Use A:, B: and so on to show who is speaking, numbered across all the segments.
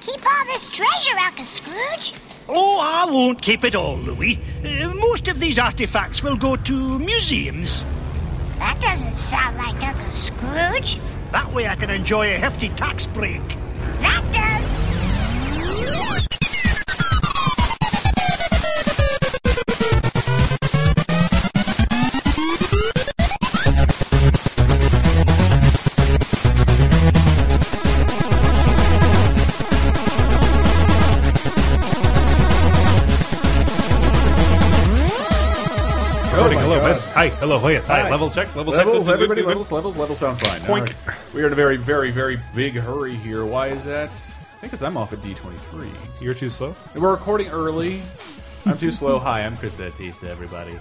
A: this treasure, Uncle Scrooge?
B: Oh, I won't keep it all, Louis. Uh, most of these artifacts will go to museums.
A: That doesn't sound like Uncle Scrooge.
B: That way I can enjoy a hefty tax break.
A: That does.
C: Recording. hello, best. Hi, hello, hey, hi.
D: Oh Hi.
C: Levels check. Levels, check.
D: Levels,
C: good,
D: everybody,
C: good,
D: levels,
C: good.
D: levels, levels sound fine.
C: Poink.
D: All right. We are in a very, very, very big hurry here. Why is that? I think because I'm off at D23.
C: You're too slow.
D: We're recording early. I'm too slow. Hi, I'm Chris Atis to everybody.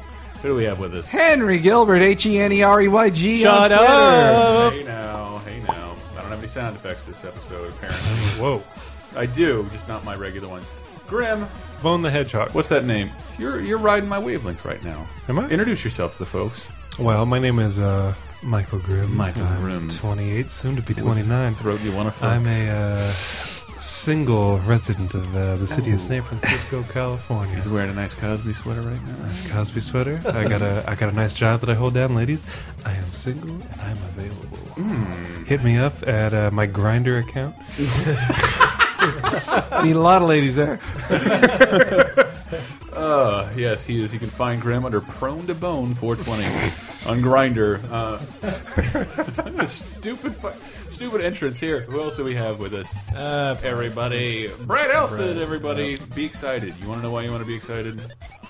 D: Who do we have with us?
E: Henry Gilbert, H E N E R E Y G.
C: Shut
E: on Twitter.
C: up.
D: Hey now, hey now. I don't have any sound effects this episode, apparently.
C: Whoa.
D: I do, just not my regular ones. Grim,
C: Bone the Hedgehog.
D: what's that name? You're you're riding my wavelength right now.
C: Am I?
D: Introduce yourself to the folks.
C: Well, my name is uh, Michael Grimm.
D: Michael
C: I'm
D: Grimm.
C: 28, soon to be 29.
D: Throat, you want to?
C: I'm a uh, single resident of uh, the city of San Francisco, California.
D: He's wearing a nice Cosby sweater right now.
C: Cosby sweater. I got a I got a nice job that I hold down, ladies. I am single and I'm available. Hit me up at uh, my grinder account.
E: Need a lot of ladies there.
D: Uh, yes, he is. You can find Graham under prone to bone 420 on Grinder. Uh, stupid, fu- stupid entrance here. Who else do we have with us?
F: Uh,
D: Everybody, Brad Elston. Everybody, be excited. You want to know why you want to be excited?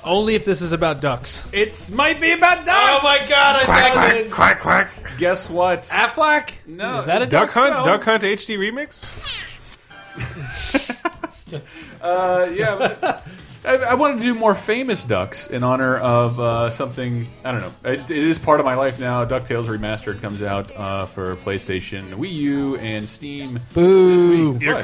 F: only if this is about ducks.
D: It might be about
F: Oh
D: ducks.
F: my god, I found it!
C: Quack quack.
D: Guess what?
F: Affleck?
D: No.
F: Ah, Is that a
C: Duck
F: duck?
C: Hunt.
D: No.
C: Duck Hunt HD remix.
D: Uh, yeah. but- I, I wanted to do more famous ducks in honor of uh, something. I don't know. It, it is part of my life now. DuckTales Remastered comes out uh, for PlayStation, Wii U, and Steam.
E: Boo.
C: You're
D: What?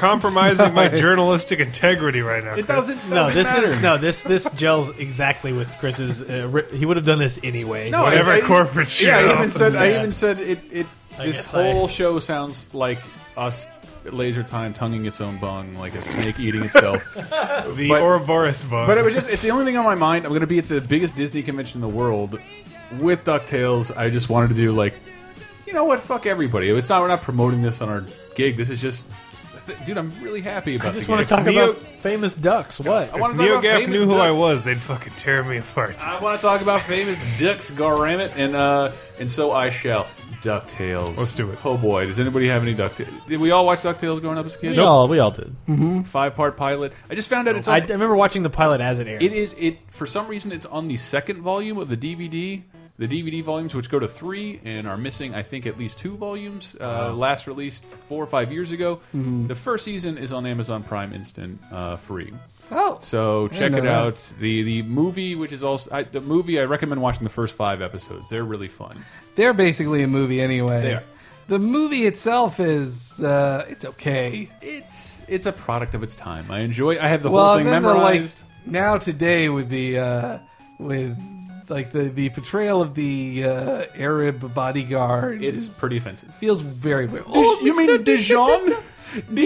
C: compromising my journalistic integrity right now.
D: It
C: Chris.
D: doesn't. doesn't
F: No, this
D: matter.
F: is no this this gels exactly with Chris's. Uh, ri- he would have done this anyway.
D: No,
C: Whatever corporate shit.
D: Yeah, I even said. I
F: Yeah.
D: even said it. It.
F: I
D: this
F: guess I-
D: whole show sounds like us. Laser time tonguing its own bung like a snake eating itself.
C: The
D: but-
C: Ouroboros bug.
D: but it was just, it's the only thing on my mind. I'm going to be at the biggest Disney convention in the world with DuckTales. I just wanted to do, like, you know what? Fuck everybody. It's not, we're not promoting this on our gig. This is just, dude, I'm really happy about
F: I just
D: the
F: want
D: gig.
F: to talk
C: Neo-
F: about famous ducks. What?
D: I want to talk
C: Neo
D: about
C: Gaff
D: famous
C: knew who I
D: ducks.
C: was. They'd fucking tear me apart.
D: I want to talk about famous dicks, Garramit, and uh, and so I shall. Ducktales.
C: Let's do it.
D: Oh boy, does anybody have any Ducktales? Did we all watch Ducktales growing up as kids?
F: we all we all did.
D: Five part pilot. I just found out it's
F: I,
D: on.
F: I remember watching the pilot as it aired.
D: it is it for some reason it's on the second volume of the DVD. The DVD volumes, which go to three and are missing, I think, at least two volumes. Uh, Last released four or five years ago. The first season is on Amazon Prime Instant uh, free.
E: Oh.
D: So check
E: know
D: it
E: that.
D: out. The the movie, which is also I, the movie, I recommend watching the first five episodes. They're really fun.
E: They're basically a movie anyway.
D: They are.
E: The movie itself is uh, it's okay.
D: It's it's a product of its time. I enjoy. I have the
E: well,
D: whole thing
E: and then the, like
D: memorized.
E: now today with the uh, with like the the portrayal of the uh, Arab bodyguard.
D: it's
E: is-
D: pretty offensive.
E: feels very weird. Oh,
D: you mean
E: Mr.
D: Dijon?
E: Dijon?
D: the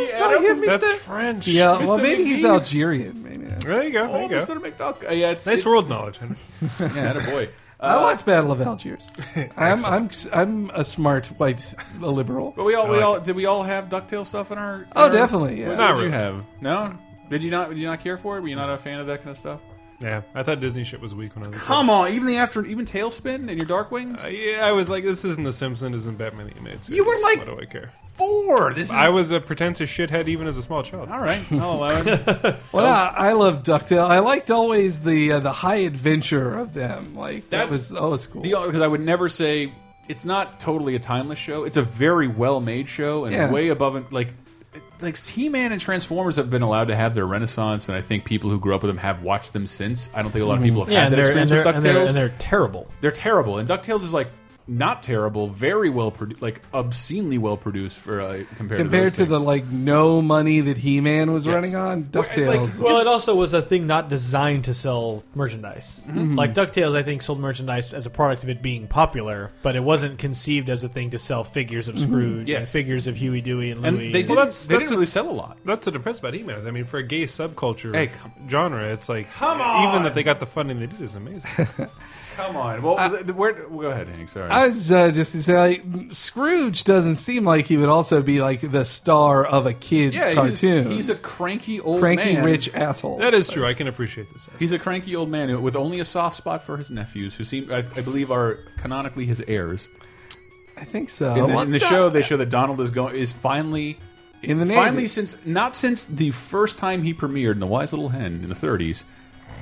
E: It's not
D: Arab?
E: him,
C: That's
E: Mr.
C: French.
E: Yeah, well,
D: Mr.
E: maybe he's
D: McGee?
E: Algerian. Maybe. That's,
C: There you go. There
D: Oh,
C: you go.
D: Mr. McDuck. Uh, yeah, it's
C: Nice
D: it-
C: world knowledge. Henry.
D: Yeah, attaboy.
E: I
D: Uh,
E: watch Battle of Algiers. I'm I'm I'm a smart white liberal.
D: But Uh, we all, we all, did we all have Ducktale stuff in our?
E: Oh,
D: in our-
E: definitely, yeah.
D: What
C: Not
D: did you
C: really.
D: have? No. Did you not? Did you not care for it? Were you not a fan of that kind of stuff?
C: Yeah, I thought Disney shit was weak when I was. a kid.
D: on, even the after, even Tailspin and your Dark Wings.
C: Uh, yeah, I was like, this isn't The Simpsons, isn't Batman the Animated Series.
D: You were like-
C: what do I care?
D: Four. This is
C: I was a pretentious shithead even as a small child.
D: all right. I'll allow it.
E: Well, I, I love Ducktale. I liked always the uh, the high adventure of them. Like that
D: That's
E: was always cool.
D: because I would never say it's not totally a timeless show. It's a very well-made show and
E: Yeah.
D: way above and like. Like He-Man and Transformers have been allowed to have their renaissance, and I think people who grew up with them have watched them since. I don't think a lot of people have
F: Mm-hmm. yeah,
D: had
F: and
D: that
F: they're, and,
D: experience
F: they're,
D: with
F: and, they're,
D: DuckTales.
F: and they're terrible.
D: they're terrible. And DuckTales is like not terrible, very well produced, like obscenely well produced for uh, compared to,
E: compared
D: those
E: to the
D: things.
E: like no money that He Man was
D: Yes.
E: running on.
D: Well,
E: Ducktales.
D: like,
F: Well,
D: Just-
F: it also was a thing not designed to sell merchandise.
D: Mm-hmm.
F: Like DuckTales, I think, sold merchandise as a product of it being popular, but it wasn't conceived as a thing to sell figures of Scrooge and
D: Mm-hmm. Yes.
F: figures of Huey, Dewey, and Louie.
D: and they didn't,
C: Well, that's-
D: they
C: that's
D: didn't really
C: what's-
D: sell a lot.
C: That's so depressed about emails. I mean, for a gay subculture
D: Hey, come-
C: genre, it's like
D: Come on!
C: even that they got the funding they did is amazing. Uh,
D: Come on, well, th- th- where, well, go ahead, Hank. Sorry,
E: I was uh, just to say, like, Scrooge doesn't seem like he would also be like the star of a kids
D: yeah, he's-
E: cartoon.
D: He's, a cranky old
E: cranky
D: man.
E: rich asshole.
C: that is true. I can appreciate this.
D: He's a cranky old man who- with only a soft spot for his nephews, who seem, I, I believe, are canonically his heirs.
E: I think so.
D: In the,
E: What
D: in Oh, the show, they show that Donald is going is finally
E: in the Navy.
D: finally since not since the first time he premiered in The Wise Little Hen in the 30s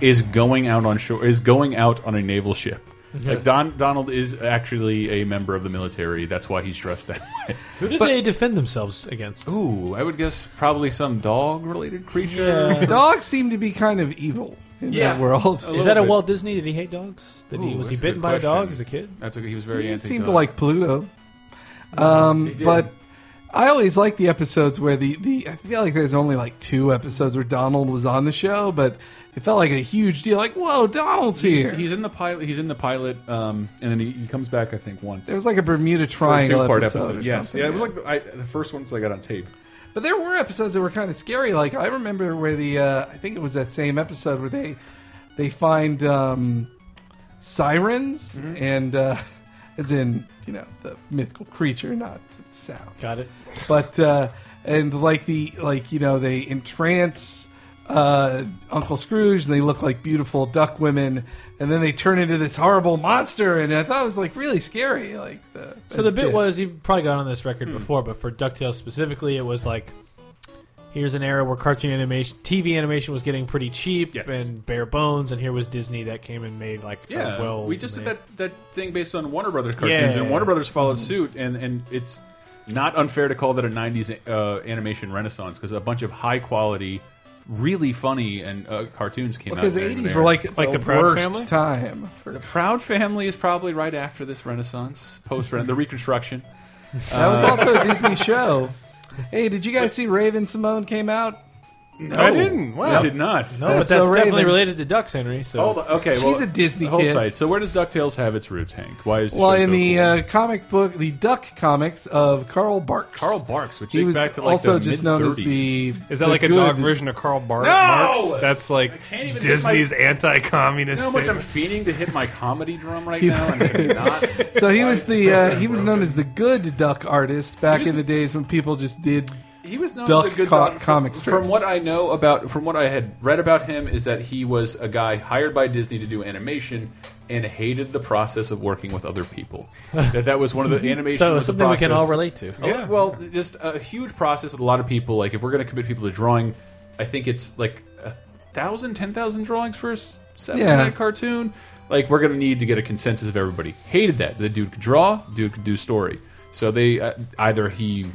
D: is going out on shore is going out on a naval ship. Like Don Donald is actually a member of the military. That's why he's dressed that way.
F: Who did they defend themselves against?
D: Ooh, I would guess probably some dog related creature.
E: dogs seem to be kind of evil in
D: Yeah.
E: that world.
D: A
F: Is
D: little
F: that a
D: bit.
F: Walt Disney? Did he hate dogs? Did he
D: Ooh,
F: was he
D: that's a good
F: bitten by a dog
D: question.
F: as a kid?
D: That's a, he was very
E: It
D: anti.
E: seemed to like Pluto. Um,
D: did.
E: but I always like the episodes where the, the I feel like there's only like two episodes where Donald was on the show, but it felt like a huge deal. Like, whoa, Donald's
D: he's,
E: here.
D: he's in the pilot. He's in the pilot, um, and then he, he comes back. I think once.
E: there was like a Bermuda Triangle
D: two-part
E: episode. or
D: Yes,
E: something.
D: yeah, it was like the, I, the first ones I got on tape.
E: But there were episodes that were kind of scary. Like I remember where the uh, I think it was that same episode where they they find um, sirens
D: Mm-hmm.
E: and uh, as in you know the mythical creature, not the sound.
F: Got it.
E: But uh, and like the like you know they entrance uh, Uncle Scrooge and they look like beautiful duck women and then they turn into this horrible monster and I thought it was like really scary. Like the,
F: So the bit was you probably got on this record
D: Hmm.
F: before, but for Ducktales specifically, it was like. Here's an era where cartoon animation, TV animation was getting pretty cheap
D: Yes.
F: and bare bones, and here was Disney that came and made like a
D: Yeah,
F: well.
D: we just did
F: made-
D: that, that thing based on Warner Brothers cartoons,
F: Yeah.
D: and Warner Brothers followed
E: Mm-hmm.
D: suit, and and it's not unfair to call that a '90s uh, animation renaissance because a bunch of high quality, really funny and uh, cartoons came out.
E: because the
D: during
E: eighties
D: there.
E: were like
F: Like
E: the,
F: the Proud
E: worst
F: Family?
E: time for
D: Proud Family is probably right after this renaissance, post the Reconstruction.
E: That was also a Disney show. Hey, did you guys see Raven Simone came out?
C: I didn't. Wow.
D: I did not.
F: No,
E: That's
F: but that's
E: so
F: definitely
E: Raven.
F: related to ducks, Henry. So
D: Hold on, okay,
E: She's
D: well,
E: a Disney
D: hold
E: kid.
D: tight. So where does Ducktales have its roots, Hank? Why is the
E: Well,
D: show
E: in
D: so
E: the
D: cool?
E: uh, comic book, the Duck comics of Carl Barks.
D: Carl Barks, which
E: He
D: dates
E: was
D: back to like
E: also
D: the
E: just known as the.
D: mid-thirties.
C: Is that
E: the
C: like a
E: good-
C: dog version of Karl Bar- Marx? That's like
D: can't even
C: Disney's
D: get You
C: anti-communist.
D: know how much I'm
C: statement.
D: fiending to hit my comedy drum right now, and I'm not.
E: So he was the uh, he was known as the good duck artist back
D: was-
E: in the days when people just did.
D: He was known
E: Duck
D: as a good
E: co-
D: dog. From-
E: comic
D: from,
E: strips.
D: what I know about, from what I had read about him, is that he was a guy hired by Disney to do animation and hated the process of working with other people. that that was one of the animation.
F: So
D: was the
F: something we can all
D: process-
F: relate to.
D: A-
C: Yeah.
D: Well, just a huge process with a lot of people. Like if we're going to commit people to drawing, I think it's like a thousand, ten thousand drawings for a s- seven
E: Yeah.
D: minute cartoon. Like we're going to need to get a consensus of everybody. Hated that the dude could draw, dude could do story. So they uh, either he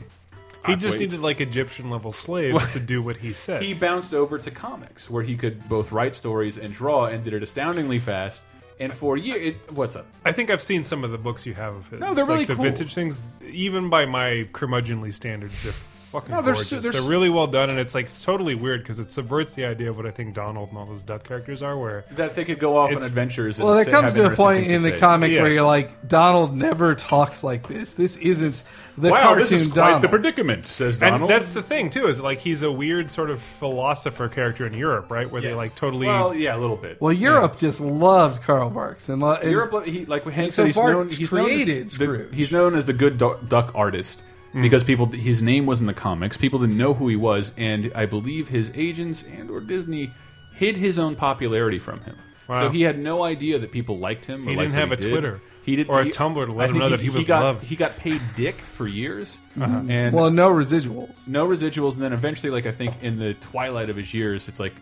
D: Ah,
C: He just
D: Wait.
C: needed like Egyptian level slaves to do what he said.
D: he bounced over to comics where he could both write stories and draw and did it astoundingly fast. And for years, it, what's up?
C: I think I've seen some of the books you have of his.
D: No, they're
C: like
D: really
C: the
D: cool.
C: vintage things. Even by my curmudgeonly standards, they're fucking
D: No, they're
C: gorgeous.
D: su-
C: they're,
D: they're su-
C: really well done, and it's like totally weird because it subverts the idea of what I think Donald and all those duck characters are. Where
D: That they could go off
C: It's-
D: on adventures. And
E: Well, there
D: say-
E: comes
D: have
E: to a
D: interesting
E: point
D: things
E: in
D: to
E: the
D: say.
E: comic
C: Yeah.
E: where you're like, Donald never talks like this. This isn't the
D: Wow,
E: cartoon
D: this is quite
E: Donald.
D: the predicament, says
C: and
D: Donald.
C: that's the thing too is like he's a weird sort of philosopher character in Europe, right? Where they
D: Yes.
C: like totally.
D: Well, yeah, a little bit.
E: well, Europe just loved Carl Barks and, lo- and
D: Europe, he, like Hank
E: so
D: said, he's
E: Bart
D: known, he's, known
E: created
D: as the,
E: Scrooge.
D: he's known as the good du- duck artist
C: Mm.
D: because people his name was in the comics. People didn't know who he was, and I believe his agents and or Disney hid his own popularity from him.
C: Wow.
D: So he had no idea that people liked him. Or
C: He
D: liked
C: didn't have
D: what he
C: a
D: did.
C: Twitter
D: He did
C: or a
D: he-
C: Tumblr to
D: I
C: let him
D: think
C: know that he was
D: got,
C: loved. Uh-huh.
D: He got paid dick for years, and
E: well, no residuals.
D: no residuals, and then eventually, like I think in the twilight of his years, it's like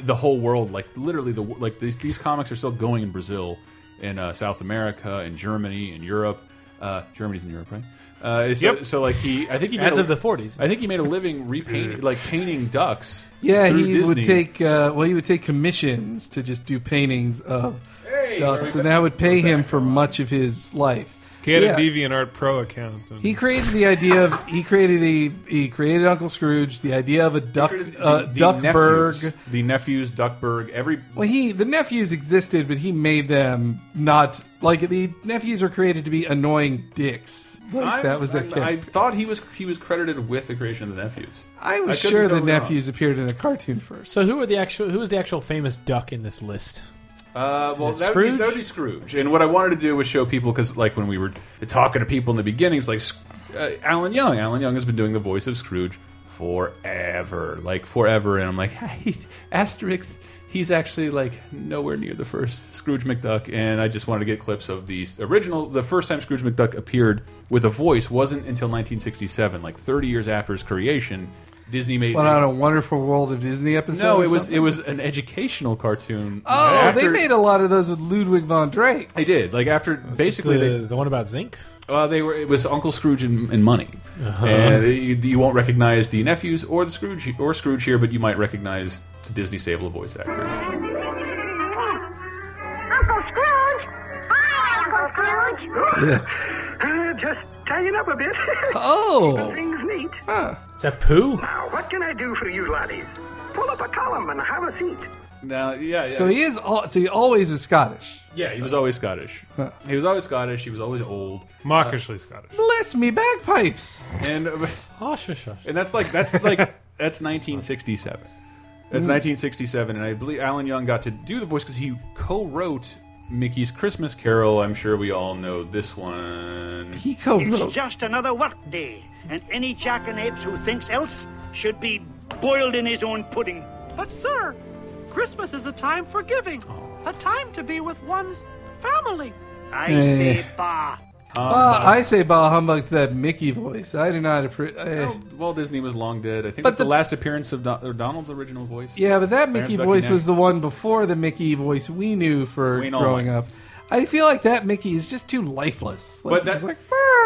D: the whole world, like literally the like these these comics are still going in Brazil, in uh, South America, in Germany, in Europe. Uh, Germany's in Europe, right? Uh, so,
C: Yep.
D: so like he, I think he made
F: As
D: a-
F: of the 40s.
D: I think he made a living repainting, like painting ducks.
E: Yeah,
D: through
E: he
D: Disney.
E: would take uh, well, he would take commissions to just do paintings of
D: Hey,
E: ducks,
D: we're
E: and that
D: back-
E: would pay
D: we're
E: him
D: back
E: for much of his life.
C: He had
E: Yeah.
C: a DeviantArt Pro account. and-
E: He created the idea of he created a he created Uncle Scrooge the idea of a duck uh,
D: the
E: duckburg.
D: nephews, the nephews, Duckburg. Every
E: Well, he the nephews existed, but he made them not like the nephews were created to be annoying dicks. Like,
D: I'm-
E: that was the
D: I'm- I
E: kid.
D: thought he was he was credited with the creation of the nephews.
E: I, was
D: could be
E: sure the
D: totally wrong.
E: nephews appeared in a cartoon first.
F: So who are the actual who is the actual famous duck in this list?
D: Uh, well,
F: Is
D: that
F: it
D: would, be,
F: Scrooge?
D: that would be Scrooge. And what I wanted to do was show people because, like, when we were talking to people in the beginning, it's like Sc- uh, Alan Young. Alan Young has been doing the voice of Scrooge forever, like forever. And I'm like, hey, Asterix. He's actually like nowhere near the first Scrooge McDuck, and I just wanted to get clips of the original. The first time Scrooge McDuck appeared with a voice wasn't until 1967, like 30 years after his creation. Disney made
E: But on a wonderful world of Disney episode.
D: no,
E: or
D: it was
E: something?
D: it was an educational cartoon.
E: Oh, they
D: After-
E: made a lot of those with Ludwig von Drake.
D: They did. Like after basically
F: the,
D: they
F: the one about zinc.
D: uh, they were it was Uncle Scrooge and, and Money, and you, you won't recognize the nephews or the Scrooge or Scrooge here, but you might recognize the Disney stable of voice actors.
A: Uncle Scrooge! Hi, Uncle Scrooge!
G: Uh, just tying up a bit.
E: Oh,
G: Things neat.
F: Is that poo?
G: Now, what can I do for you laddies? Pull up a column and have a seat.
D: Now, yeah, yeah,
E: so he is al- so he always was Scottish.
D: yeah. He was always Scottish. He was always Scottish. He was always old,
C: Mockishly Scottish.
E: Bless me bagpipes.
D: and
F: Oh, shush, shush.
D: and that's like that's like that's 1967.
E: Hmm.
D: That's 1967, and I believe Alan Young got to do the voice because he co-wrote Mickey's Christmas Carol. I'm sure we all know this one.
E: He co-wrote.
B: It's just another workday, and any jackanapes who thinks else should be boiled in his own pudding.
H: But, sir, Christmas is a time for giving, a time to be with one's family.
B: I
E: Eh.
B: say bah.
E: Bah, Ah, I say bah humbug to that Mickey voice. I do not eh, approve.
D: Well, Walt Disney was long dead. I think
E: But
D: that's the,
E: the-
D: last appearance of Don- or Donald's original voice.
E: yeah, but that
D: Clarence
E: Mickey
D: Ducky
E: voice
D: Neck.
E: was the one before the Mickey voice we knew for
D: Wayne
E: growing
D: Allman.
E: up. I feel like that Mickey is just too lifeless. Like,
D: but that's
E: he's like,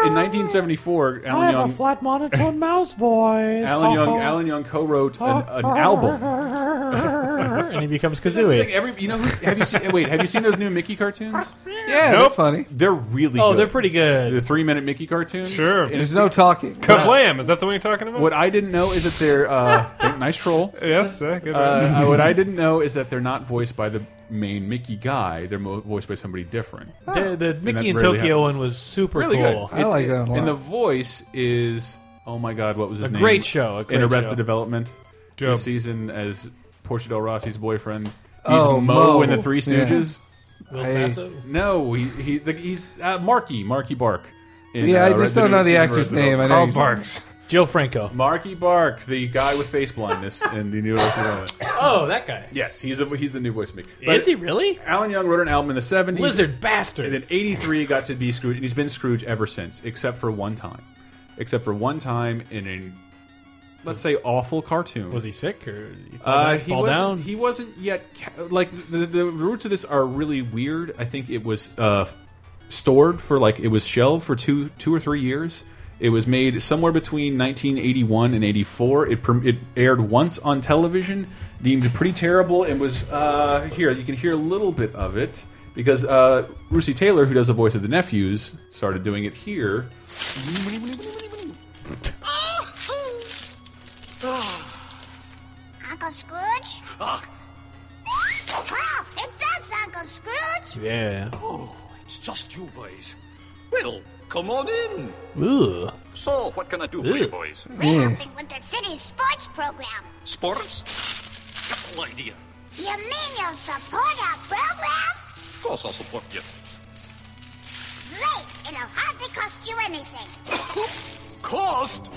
D: like in 1974. Alan Young,
F: flat monotone mouse voice.
D: Alan Young, Alan Young co-wrote an, an album.
F: Uh-huh. and he becomes
D: That's the thing,
F: Kazooie.
D: every- you know, who- have you seen? eh, Wait, have you seen those new Mickey cartoons?
E: yeah, they're
C: Nope.
E: funny.
D: They're really.
F: Oh,
D: good.
F: they're pretty
D: The
F: good.
D: three-minute Mickey cartoons.
C: Sure.
D: And it's-
E: There's no talking.
C: Kablam! Is that the one you're talking about?
D: what I didn't know is that they're uh, nice troll.
C: Yes, uh, good one.
D: Uh, what I didn't know is that they're not voiced by the main Mickey guy. They're mo voiced by somebody different.
F: The, the Mickey in
D: rarely
F: Tokyo
D: happens.
F: one was super
D: really
F: cool.
D: good.
E: I like that one a
D: And the
E: lot.
D: voice is oh my god, what was his
F: A
D: name?
F: great show, a great
D: in Arrested
F: show.
D: Development.
C: Joe.
D: This season as Portia del Rossi's boyfriend. He's
E: Oh,
D: Mo,
E: Mo.
D: in the Three
E: Yeah.
D: Stooges.
F: Will
E: I-
F: Sasso?
D: No, he, he the, he's uh, Marky Marky Bark. in,
E: Yeah, I
D: uh,
E: just
D: the
E: don't
D: new
E: know the
D: season of
E: actor's
D: Arrested
E: name. I
F: oh,
D: Development.
E: know
C: Carl
E: you-
C: Barks.
F: Joe Franco.
D: Marky Bark, the guy with face blindness in the new Arrested Development.
F: Oh, that guy.
D: Yes, he's the he's the new voice of Mickey.
F: is he really?
D: Alan Young wrote an album in the seventies.
F: Lizard
D: And then
F: bastard.
D: '83 got to be Scrooge, and he's been Scrooge ever since, except for one time, except for one time in a let's say awful cartoon.
F: Was he sick or did he fall,
D: Uh,
F: down,
D: he
F: fall
D: wasn't.
F: down?
D: He wasn't yet. Ca like the, the roots of this are really weird. I think it was uh, stored for like it was shelved for two two or three years. It was made somewhere between 1981 and 84. It pr- it aired once on television, deemed pretty terrible, and was uh, here. You can hear a little bit of it because uh, Russi Taylor, who does the voice of the nephews, started doing it here.
A: Uncle Scrooge? Well, it does, Uncle Scrooge!
F: yeah.
I: It's just you boys. Well, come on in.
F: Ooh.
I: So, what can I do for you boys?
A: We're helping with the city's sports program.
I: Sports? No idea.
A: You mean you'll support our program?
I: Of course I'll support you.
A: Great! It'll hardly cost you anything.
I: Cost?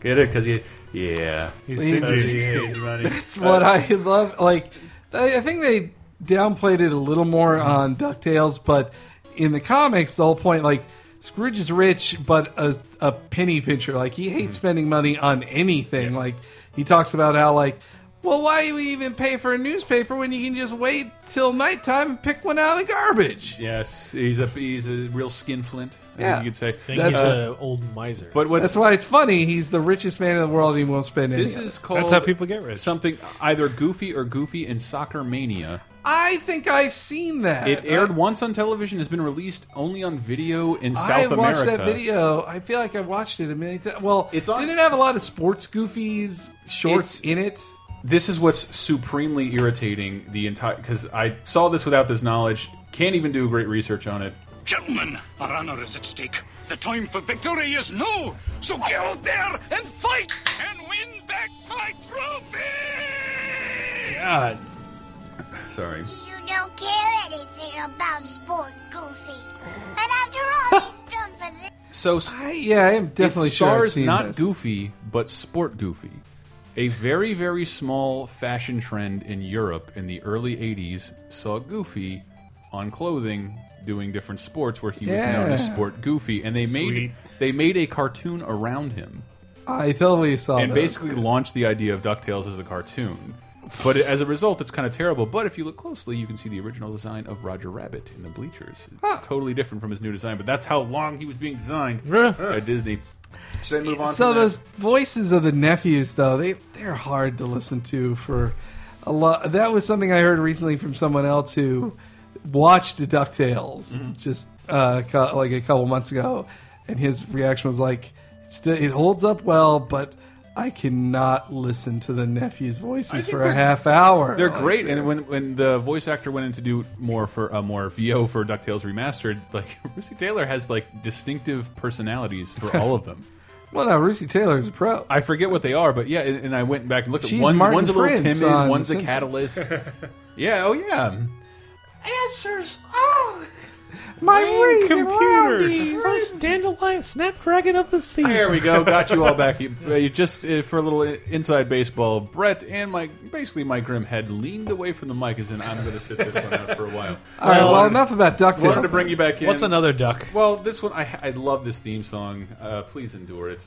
D: Get it? Because he, yeah,
C: He's
E: Please.
C: stingy.
E: That's what I love. Like, I I think they downplayed it a little more on Ducktales, but in the comics, the whole point, like, Scrooge is rich, but a, a penny pincher. Like, he
D: Mm-hmm.
E: hates spending money on anything. Like, he talks about how, like, well, why do we even pay for a newspaper when you can just wait till nighttime and pick one out of the garbage?
D: Yes, he's a he's a real skinflint. I
E: Yeah.
D: think you could say. Uh,
F: Saying
E: That's
F: he's
E: a-
F: an old miser.
D: But what's
E: That's why it's funny. He's the richest man in the world. and He won't spend any.
D: this
E: of it.
D: is called
C: That's how people get rich.
D: something either goofy or goofy in soccer mania.
E: I think I've seen that.
D: It aired once on television, has been released only on video in South
E: I
D: America.
E: watched that video. I feel like I watched it a million times. Well,
D: It's on-
E: didn't it have a lot of sports goofies shorts
D: It's-
E: in it?
D: this is what's supremely irritating the entire because I saw this without this knowledge. Can't even do great research on it.
I: Gentlemen, our honor is at stake. The time for victory is now. So get out there and fight and win back my trophy!
F: God.
D: Sorry.
A: You don't care anything about sport, Goofy. And after all, he's done for this.
D: So s-
E: I, yeah, I am definitely
D: it
E: sure I've
D: stars
E: seen
D: not
E: this.
D: Goofy but Sport Goofy, a very very small fashion trend in Europe in the early '80s saw Goofy on clothing doing different sports where he was known as
E: Yeah.
D: Sport Goofy, and they
F: Sweet.
D: made they made a cartoon around him.
E: I totally saw
D: and
E: that.
D: basically launched the idea of DuckTales as a cartoon. But as a result, it's kind of terrible. But if you look closely, you can see the original design of Roger Rabbit in the bleachers. It's totally different from his new design, but that's how long he was being designed by Disney. Should I move on?
E: so
D: from that?
E: those voices of the nephews though they they're hard to listen to for a lot that was something i heard recently from someone else who watched ducktales
D: Mm-hmm.
E: just uh, co- like a couple months ago and his reaction was like it's still, it holds up well but i cannot listen to the nephews voices for a half hour
D: They're
E: Like,
D: great, and when when the voice actor went in to do more for a more VO for Ducktales remastered, like Rusty Taylor has like distinctive personalities for all of them.
E: well now Rusey taylor's a pro
D: I forget what they are, but yeah, and, and I went back and looked
E: She's
D: at one's,
E: Martin
D: one's a little
E: Prince on
D: timid,
E: The
D: one's a
E: Simpsons.
D: catalyst. yeah, oh yeah. Answers. Oh,
E: my reason
F: Computers. First dandelion snapdragon of the season.
D: there we go. Got you all back. You, uh, you just uh, for a little i- inside baseball. Brett and my basically my grim head leaned away from the mic, as in I'm going to sit this one out for a while.
E: all right well
F: Well,
E: enough about
D: Wanted to
E: ducktales
D: bring you back in.
F: What's another duck?
D: Well, this one I I love this theme song. Uh, please endure it.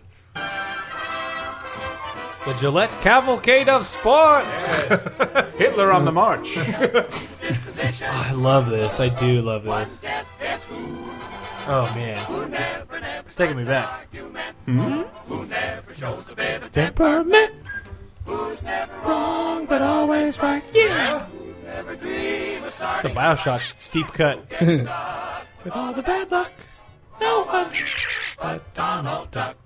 F: The Gillette Cavalcade of Sports.
D: Hitler on the march.
F: I love this. I do love this. Oh man, it's taking me back. Temperament. Wrong, but always right. Yeah. It's a Bioshock steep cut. With all the bad luck, no one but Donald Duck.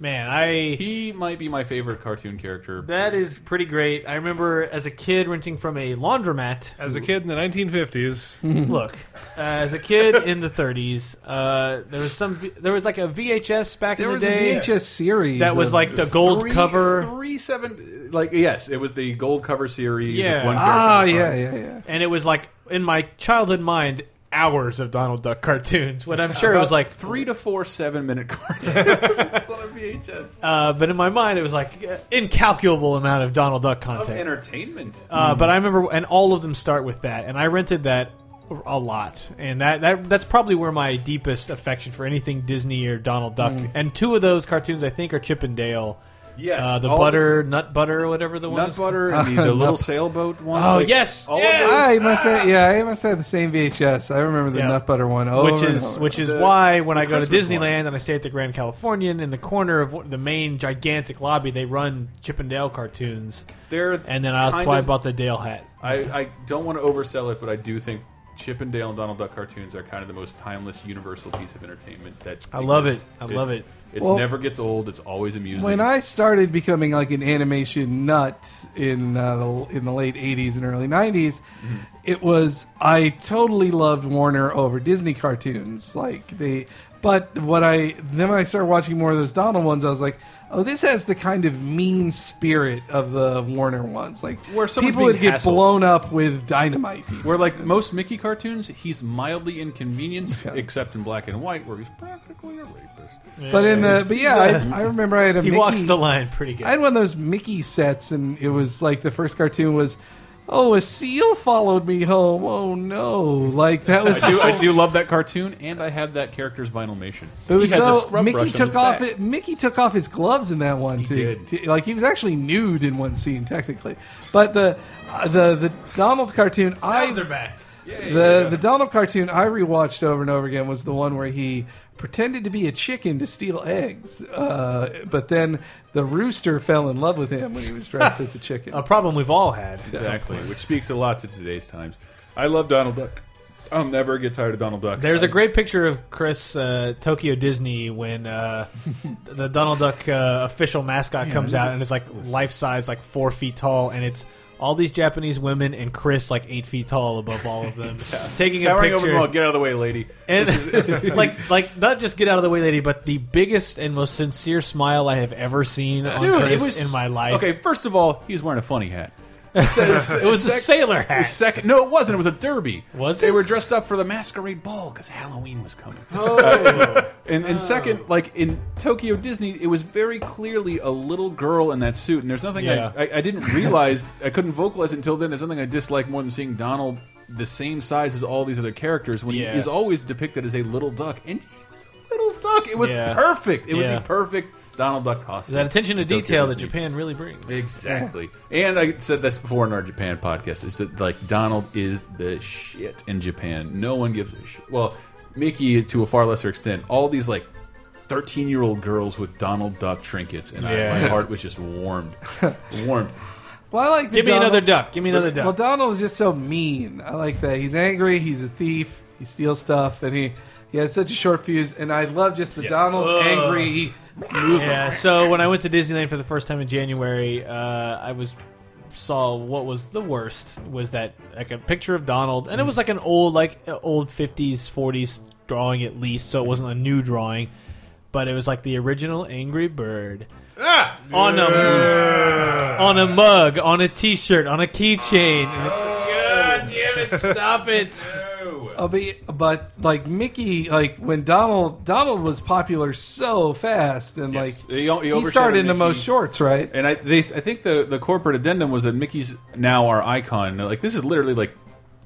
F: Man, I
D: he might be my favorite cartoon character.
F: That is pretty great. I remember as a kid renting from a laundromat.
C: As a kid in the 1950s,
F: Look, uh, as a kid in the 30s, uh, there was some. v- There was like a VHS back
E: there
F: in the
E: was a
F: day
E: vhs series
F: that was
E: of-
F: like the gold
D: Three-
F: cover,
D: three seven like yes it was the gold cover series
F: Yeah.
D: with one character
E: ah
D: in the
E: yeah
D: front.
E: yeah yeah
F: and it was like in my childhood mind hours of Donald Duck cartoons. When I'm sure it was like
D: three to four seven minute cartoons on a VHS
F: Uh, but in my mind, it was like uh, incalculable amount of Donald Duck
D: of
F: content.
D: entertainment.
F: Uh, but I remember, and all of them start with that, and I rented that a lot, and that, that that's probably where my deepest affection for anything Disney or Donald Duck, and two of those cartoons I think are Chip and Dale,
D: yes,
F: uh, the
D: all
F: butter, nut butter, or whatever the
D: the
F: one.
D: nut
F: is-
D: butter, and the, the little sailboat one.
F: Oh, yes,
D: all of
F: yes!
D: those-
E: I must have, yeah, I must have the same VHS. I remember the
F: Yeah.
E: nut butter one,
D: oh,
E: over
F: which
E: and
F: is
E: over.
F: which is
D: The-
F: why when I go
D: Christmas
F: to Disneyland
D: one.
F: and I stay at the Grand Californian in the corner of wh- the main gigantic lobby, they run Chip and Dale cartoons,
D: they're
F: and then that's
D: kind
F: why I
D: of-
F: bought the Dale hat.
D: I, I don't want to oversell it, but I do think Chip and Dale and Donald Duck cartoons are kind of the most timeless, universal piece of entertainment that
F: I love
D: exists.
F: it. I love it.
D: It
E: Well-
D: never gets old. It's always amusing.
E: when I started becoming like an animation nut in uh, the, in the late '80s and early '90s.
F: Mm-hmm.
E: It was I totally loved Warner over Disney cartoons, like they. But what I then when I started watching more of those Donald ones, I was like, oh, this has the kind of mean spirit of the Warner ones, like
D: Where someone's
E: people
D: being
E: would get
D: hassled.
E: blown up with dynamite.
D: Where like most Mickey cartoons, he's mildly inconvenienced, except in black and white, where he's practically a rapist.
E: But in the but yeah, I, I remember I had a
F: He
E: Mickey,
F: walks the line pretty good.
E: I had one of those Mickey sets, and it was like the first cartoon was, "Oh, a seal followed me home. Oh no!" Like that was.
D: I do, I do love that cartoon, and I have that character's vinylmation.
E: But it was
D: he has a
E: so
D: scrub brush
E: Mickey
D: on his
E: took off
D: back.
E: it. Mickey took off his gloves in that one. He
D: did.
E: like he was actually nude in one scene, technically. But the uh, the the Donald cartoon, I
F: Sounds are back.
E: The the Donald cartoon I rewatched over and over again was the one where he pretended to be a chicken to steal eggs, uh, but then the rooster fell in love with him when he was dressed as a chicken.
F: A problem we've all had.
D: Exactly, which speaks a lot to today's times. I love Donald Duck. I'll never get tired of Donald Duck.
F: There's
D: I-
F: a great picture of Chris uh, Tokyo Disney when uh, the Donald Duck uh, official mascot comes out and it's like life size, like four feet tall, and it's all these Japanese women and Chris like eight feet tall above all of them, taking a
D: towering over them all.
F: picture.
D: Get out of the way, lady.
F: And like, like not just get out of the way, lady, but the biggest and most sincere smile I have ever seen on Chris in my life.
D: Okay, first of all, he's wearing a funny hat.
F: it was a
D: sec-
F: sailor
D: The
F: hat.
D: second, no, it wasn't. It was a derby.
F: Was
D: they
F: it?
D: were dressed up for the masquerade ball because Halloween was coming. and and second, like in Tokyo Disney, it was very clearly a little girl in that suit. And there's nothing
F: Yeah.
D: I, I, I didn't realize I couldn't vocalize it until then. There's nothing I dislike more than seeing Donald the same size as all these other characters when
F: Yeah.
D: he is always depicted as a little duck, and he was a little duck. It was
F: Yeah.
D: perfect. It was
F: Yeah.
D: the perfect Donald Duck costume.
F: that attention to
D: in Tokyo
F: detail that
D: Disney.
F: Japan really brings.
D: Exactly. And I said this before in our Japan podcast. It's that, like Donald is the shit in Japan. No one gives a shit. Well, Mickey to a far lesser extent. All these like 13 year old girls with Donald Duck trinkets. And I, my heart was just warmed. warmed.
E: Well, I like the
F: Give me
E: Donald-
F: another duck. Give me another duck.
E: Well, Donald is just so mean. I like that. He's angry. He's a thief. He steals stuff, and he he had such a short fuse. And I love just the Donald
F: Ugh.
E: angry.
F: Yeah. So when I went to Disneyland for the first time in January, uh, I was saw what was the worst was that like a picture of Donald, and it was like an old like uh, old fifties forties drawing at least, so it wasn't a new drawing, but it was like the original Angry Bird. on a on a mug, on a T-shirt, on a keychain. and it's God damn it! Stop it!
E: I'll be, uh, but like Mickey, like when Donald Donald was popular so fast, and like
D: He o- he overshadowed
E: started in the
D: Mickey.
E: most shorts, right?
D: And I, they, I think the, the corporate addendum was that Mickey's now our icon. Like this is literally like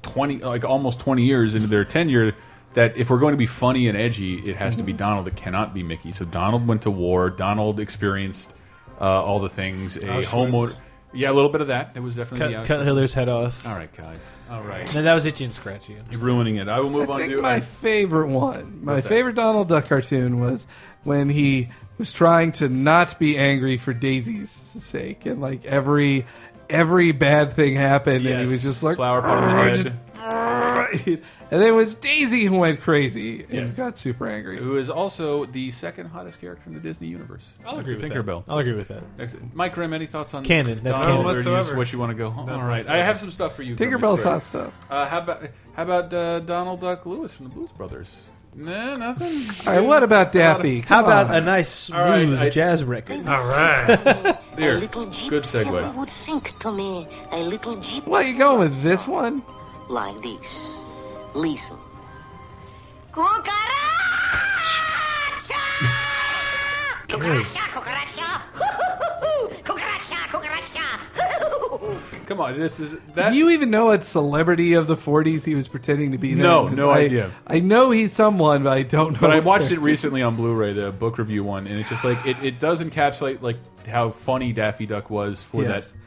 D: twenty, like almost twenty years into their tenure. That if we're going to be funny and edgy, it has to be Donald. It cannot be Mickey. So Donald went to war. Donald experienced uh, all the things. A homeowner, yeah, a little bit of that. There was
F: Cut,
D: definitely the
F: cut Hitler's head off.
D: All right, guys. All right,
F: No, that was itchy and scratchy.
D: you're ruining it. I will move
E: I
D: on
E: think
D: to uh,
E: my favorite one, my favorite Donald Duck cartoon was when he was trying to not be angry for Daisy's sake, and like every every bad thing happened, and
D: Yes.
E: he was just like
D: Flower pot
E: "Argh,"
D: red.
E: just, "Argh." and then it was Daisy who went crazy and got super angry.
D: who is also the second hottest character in the Disney universe.
F: I'll agree with
D: Tinkerbell.
F: that. I'll agree with that.
D: Excellent. Mike Grimm, any thoughts on
F: Canon. That's
D: Donald
F: canon.
D: or you-
F: whatsoever.
D: What you want to go home?
F: None
D: All right,
F: whatsoever.
D: I have some stuff for you. Grimm,
E: Tinkerbell's
D: Mr.
E: hot stuff.
D: Uh, how about how about uh, Donald Duck Lewis from the Blues Brothers? Nah, nothing.
E: All right, what about Daffy?
J: How
E: Come
J: about
E: on.
J: a nice
D: All right,
J: smooth
D: I-
J: jazz record?
F: All right.
D: Here,
K: little gypsy
D: good segue.
K: would sink to me. A little gypsy.
E: What you going with this one?
K: Like this. Listen.
D: Come on, this is that.
E: Do you even know what celebrity of the 40s he was pretending to be?
D: No,
E: then?
D: no
E: I,
D: idea.
E: I know he's someone, but I don't know.
D: but I
E: what
D: watched it
E: character.
D: recently on Blu-ray, the book review one, and it's just like it, it does encapsulate like how funny Daffy Duck was for
E: Yes.
D: that.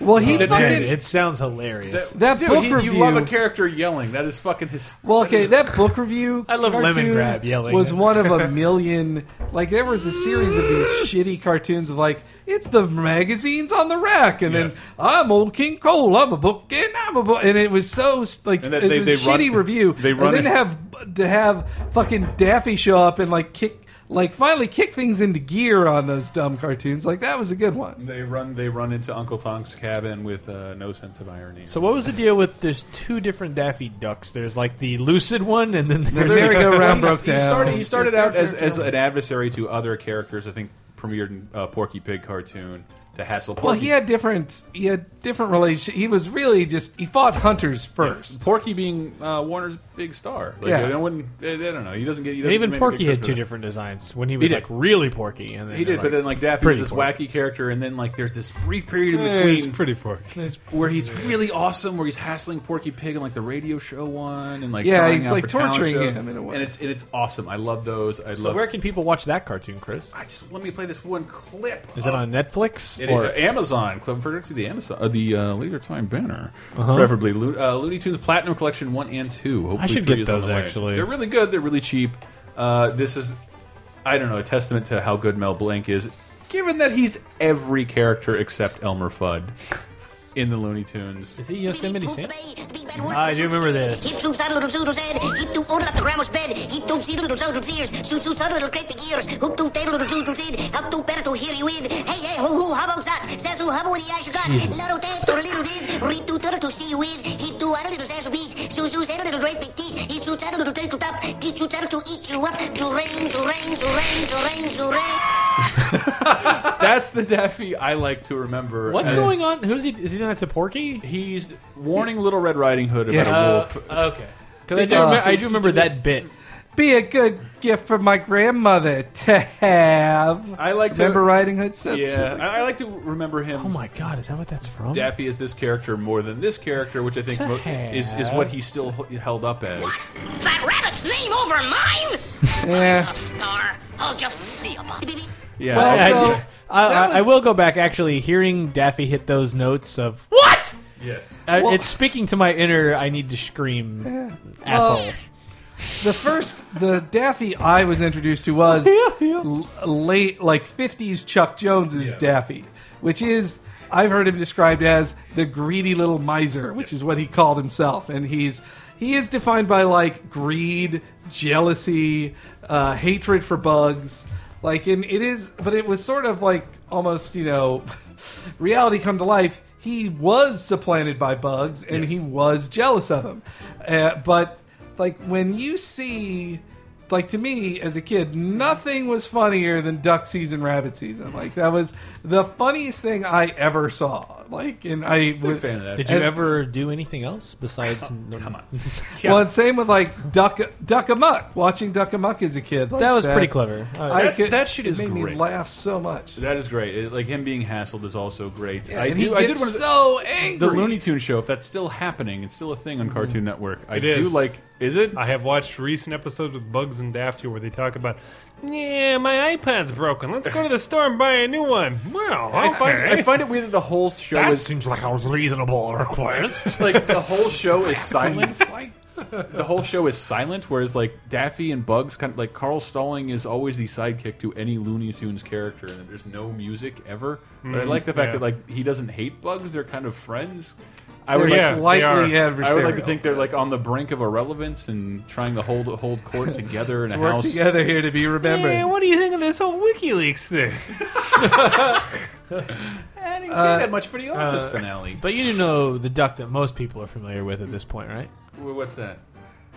E: Well, he
D: Dude,
E: fucking
F: it sounds hilarious.
E: That
D: Dude,
E: book
D: he-
E: review.
D: You love a character yelling. That is fucking his.
E: well, okay, that book review.
F: I love Lemon
E: cartoon
F: Grab yelling.
E: Was one of a million. Like there was a series of these shitty cartoons of like it's the magazines on the rack, and
D: Yes.
E: then I'm old King Cole. I'm a book, and I'm a book, and it was so like
D: And
E: it's
D: that they-
E: a
D: they run-
E: shitty review.
D: they run
E: and
D: it-
E: then have to have fucking Daffy show up and like kick. Like finally kick things into gear on those dumb cartoons. Like that was a good one.
D: They run. They run into Uncle Tom's cabin with uh, no sense of irony.
F: So what was the deal with? There's two different Daffy Ducks. There's like the lucid one, and then there's
E: Merry go round
D: Well, he-
E: broke
D: He
E: down.
D: started, he started out as, as an adversary to other characters. I think premiered in uh, Porky Pig cartoon to hassle. Porky.
E: Well, he had different. He had different relationship. He was really just. He fought hunters first.
D: Porky being uh, Warner's big star. Like,
E: Yeah.
D: I, wouldn't, I, I don't know. He doesn't get. He
F: and
D: doesn't
F: even
D: make a
F: Porky
D: big
F: had
D: character
F: two
D: of it.
F: different designs when he was
D: did.
F: like really Porky, and then
D: He did, but then like Daffy was
F: pretty
D: this
F: Porky.
D: wacky character, and then like there's this brief period in
F: Eh,
D: between
F: it's pretty Porky.
D: where he's really awesome, where he's hassling Porky Pig and like the radio show one, and like
E: Yeah,
D: trying
E: he's,
D: out
E: like,
D: for talent
E: torturing
D: shows.
E: him in a way.
D: and it's and it's awesome. I love those. I
F: So
D: love.
F: where can people watch that cartoon, Chris?
D: I just let me play this one clip.
F: Is it on Netflix?
D: It uh, Amazon. Club for see the Amazon, uh, the uh, Laser Time banner,
F: Uh-huh.
D: preferably Loo- uh, Looney Tunes Platinum Collection one and two. Hopefully
F: I should
D: three
F: get
D: is on
F: those,
D: the way.
F: actually.
D: they're really good. They're really cheap. Uh, this is, I don't know, a testament to how good Mel Blanc is, given that he's every character except Elmer Fudd in the Looney Tunes.
F: Is he Yosemite Sam? I do remember
K: Heap
F: this.
K: soup, sad little zoodle's head. Heap doop, oodle up the grandma's bed. Heap doop, see little zoodle's ears. Soo soo, sad little great big ears. Hoop doop, day little zoodle's head. Up doop, better to hear you in. Hey, hey, ho ho, how about that? Says who, how about the eyes you got?
F: Jesus.
K: Little day, to little did. Read to turtle to see you in. Heap do, other little says bees. Soo soo, sad little great big teeth. Heap soo, sad little turtle top. Teach you turtle to eat you up. To rain, to rain, to rain, to rain, to rain.
D: That's the Daffy I like to remember.
F: What's
D: as
F: going on? Who's he? Is he doing that to Porky?
D: He's warning Little Red Riding Hood about a
F: Uh,
D: wolf.
F: okay. 'Cause I do, remember, I do remember that bit.
E: Be a good gift for my grandmother to have.
D: I like to
E: Remember Riding Hood said
D: Yeah, I, I like to remember him.
F: Oh my god, is that what that's from?
D: Daffy is this character more than this character, which I think mo- is is what he's still h- held up as.
A: That rabbit's name over mine?
E: Yeah.
A: Star, I'll just see about it.
D: Yeah,
E: Well,
D: also-
E: so-
F: I, I,
E: that
F: I, I
E: was-
F: will go back. Actually, hearing Daffy hit those notes of what?
D: yes.
F: Uh,
E: Well-
F: it's speaking to my inner. I need to scream, asshole.
E: Well, the first, the Daffy I was introduced to was l- late, like 50s Chuck Jones's Daffy, which is, I've heard him described as the greedy little miser, which is what he called himself. And he's, he is defined by like greed, jealousy, uh, hatred for bugs. Like, and it is, but it was sort of like almost, you know, reality come to life. He was supplanted by bugs and he was jealous of him. Uh, but like when you see like to me as a kid nothing was funnier than duck season rabbit season like that was the funniest thing i ever saw like and i
D: Big fan of that.
F: Did you
E: and-
F: ever do anything else besides? Come on.
E: well and same with like duck duck amuck watching duck amuck as a kid like
F: That was pretty clever.
E: I
D: That's-
E: could-
D: that shit is
E: it made
D: great.
E: me laugh so much
D: That is great. It- like him being hassled is also great. I
E: and
D: do.
E: he
D: I did
E: gets
D: one of the,
E: so
D: the
E: angry
D: Looney Tunes show. If that's still happening, it's still a thing on Cartoon Network. I
C: It
D: do
C: is.
D: like. Is it?
C: I have watched recent episodes with Bugs and Daffy where they talk about, yeah, my iPad's broken. Let's go to the store and buy a new one. Well,
D: I find, I
C: okay.
D: find it weird that the whole show is
F: seems like a reasonable request.
D: like the whole show is silent. the whole show is silent, whereas like Daffy and Bugs, kind of like Carl Stalling is always the sidekick to any Looney Tunes character, and there's no music ever. but I like the fact
C: yeah.
D: that like he doesn't hate Bugs; they're kind of friends. I
E: They're
D: would,
C: Yeah,
D: like,
E: slightly
C: they are.
E: adversarial
D: I would like to think they're like on the brink of irrelevance and trying to hold hold court together in a
E: work
D: house.
E: together here to be remembered
C: Hey, what do you think of this whole WikiLeaks thing?
D: I didn't care that much for the Office finale.
F: But you do know the duck that most people are familiar with at this point, right?
D: Wh- What's that?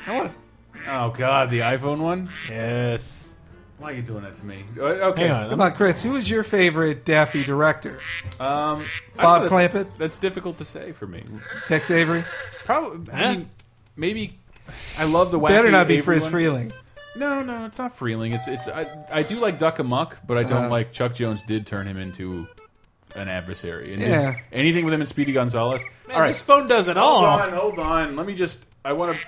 D: Oh God, the iPhone one.
F: Yes.
D: Why are you doing that to me? Uh, Okay,
F: Hang on.
E: come on chris who is your favorite daffy director
D: Um, I
E: Bob
D: don't know, that's-
E: Clampett?
D: That's difficult to say for me.
E: tex avery
D: Probably.
F: Yeah.
D: I mean, maybe. I love the wacky.
E: better not be
D: Avery
E: frizz
D: one.
E: freeling
D: No, no, it's not Freeling. It's it's. I, I do like Duck Amuck, but I don't
E: Uh.
D: like Chuck Jones. Did turn him into an adversary. And
E: Yeah.
D: did- Anything with him and Speedy Gonzalez.
F: Man,
D: All right.
F: This phone does it
D: Hold
F: all.
D: on, hold on. Let me just. I want to.